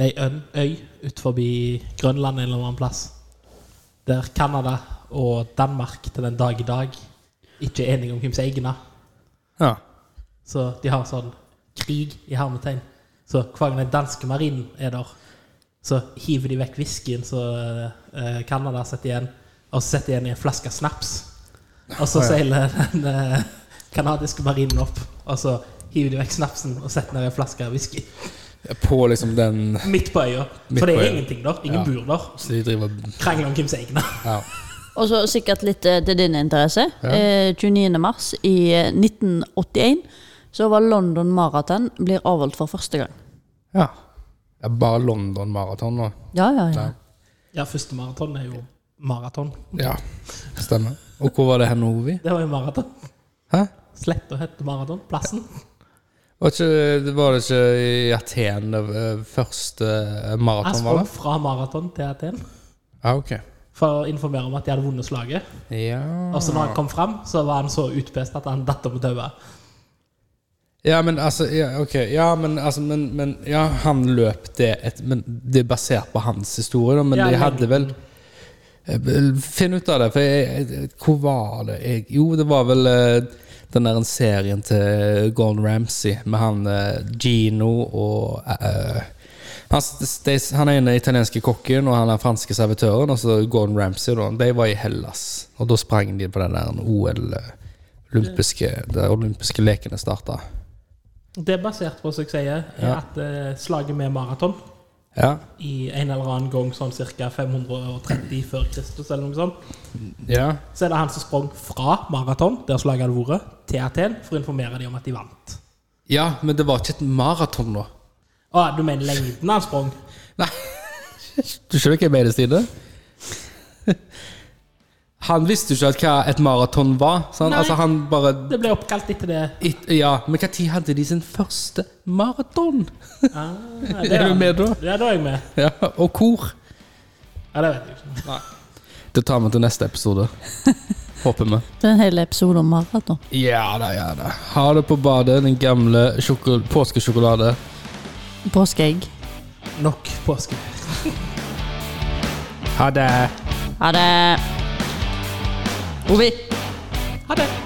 Speaker 3: det er ei øn- øy ut forbi Grønland eller en annen plass. Der Canada og Danmark til den dag i dag ikke er enige om hvem som er egna.
Speaker 2: Ja.
Speaker 3: Så de har sånn krig i hermetegn. Så hver gang den danske marinen er der, så hiver de vekk whiskyen som eh, Canada setter igjen, og så setter de igjen i en flaske snaps. Og så seiler den eh, kanadiske marinen opp, og så hiver de vekk snapsen og setter ned i en flaske whisky.
Speaker 2: På liksom den
Speaker 3: Midt på øya.
Speaker 2: Midt
Speaker 3: For det
Speaker 2: på
Speaker 3: er
Speaker 2: øya.
Speaker 3: ingenting der. Ingen
Speaker 2: Ja.
Speaker 3: bur der.
Speaker 2: Så de driver
Speaker 3: Krangler om hvem som er egna.
Speaker 2: Ja.
Speaker 1: Og så sikkert litt eh, til din interesse.
Speaker 2: Ja.
Speaker 1: Eh, 29. mars i eh, 1981 så var London Marathon blir avholdt for første gang.
Speaker 2: ja. Det er bare London Marathon nå.
Speaker 1: Ja, ja, ja.
Speaker 2: Ja.
Speaker 3: Ja, første maraton er jo maraton.
Speaker 2: Ja, stemmer. Og hvor var det hen, Ovi?
Speaker 3: Det var jo maraton.
Speaker 2: Hæ?
Speaker 3: Sletta het maraton. Plassen.
Speaker 2: Var, ikke, det var det ikke i Aten det eh, første maraton var?
Speaker 3: Asfalt
Speaker 2: det?
Speaker 3: fra maraton til Aten.
Speaker 2: Ja, Ah, ok.
Speaker 3: for å informere om at de hadde vunnet slaget.
Speaker 2: Ja.
Speaker 3: Og så når han kom fram, så var han så utpest at han datt om og daua.
Speaker 2: ja, men altså ja, Ok, ja, men altså men, men, Ja, han løp det et, Men det er basert på hans historie, da, men
Speaker 3: Ja,
Speaker 2: de
Speaker 3: men-
Speaker 2: hadde vel Eh, vel, Finn ut av det, for jeg, jeg, hvor var det jeg, Jo, det var vel eh, den der serien til Gordon Ramsay med han eh, Gino og eh, han, s- de, s- han er den italienske kokken og han er den franske servitøren, og så Gordon Ramsay, da. De var i Hellas, og da sprang de på den der OL eh, Olympiske, de olympiske lekene starta.
Speaker 3: Det er basert på, som jeg sier,
Speaker 2: Ja.
Speaker 3: at eh, slaget med maraton
Speaker 2: Ja.
Speaker 3: i en eller annen gang sånn ca. 530 før Kristus, eller noe sånt,
Speaker 2: ja.
Speaker 3: så er det han som sprang fra maraton, der slaget hadde vært, til Aten, for å informere dem om at de vant.
Speaker 2: Ja, men det var ikke et maraton, da.
Speaker 3: Å, du mener lengden han sprang?
Speaker 2: Nei Du skjønner ikke hva jeg mener, Stine? Han visste jo ikke at hva et maraton var. Sant?
Speaker 3: Nei.
Speaker 2: Altså han bare
Speaker 3: Det ble oppkalt etter det.
Speaker 2: it, Ja, Men når hadde de sin første maraton?
Speaker 3: Ah, det
Speaker 2: Er du med da?
Speaker 3: Ja, da er jeg med.
Speaker 2: Ja, Og hvor?
Speaker 3: Ja, det vet jeg ikke.
Speaker 2: Det tar vi til neste episode. Håper vi.
Speaker 1: Det er en hel episode om maraton.
Speaker 2: Ja da, ja da. Ha det på badet, den gamle sjoko- påskesjokolade.
Speaker 1: Påskeegg.
Speaker 3: Nok påske.
Speaker 2: Ha det.
Speaker 1: Ha det! Ovi!
Speaker 3: Ha det.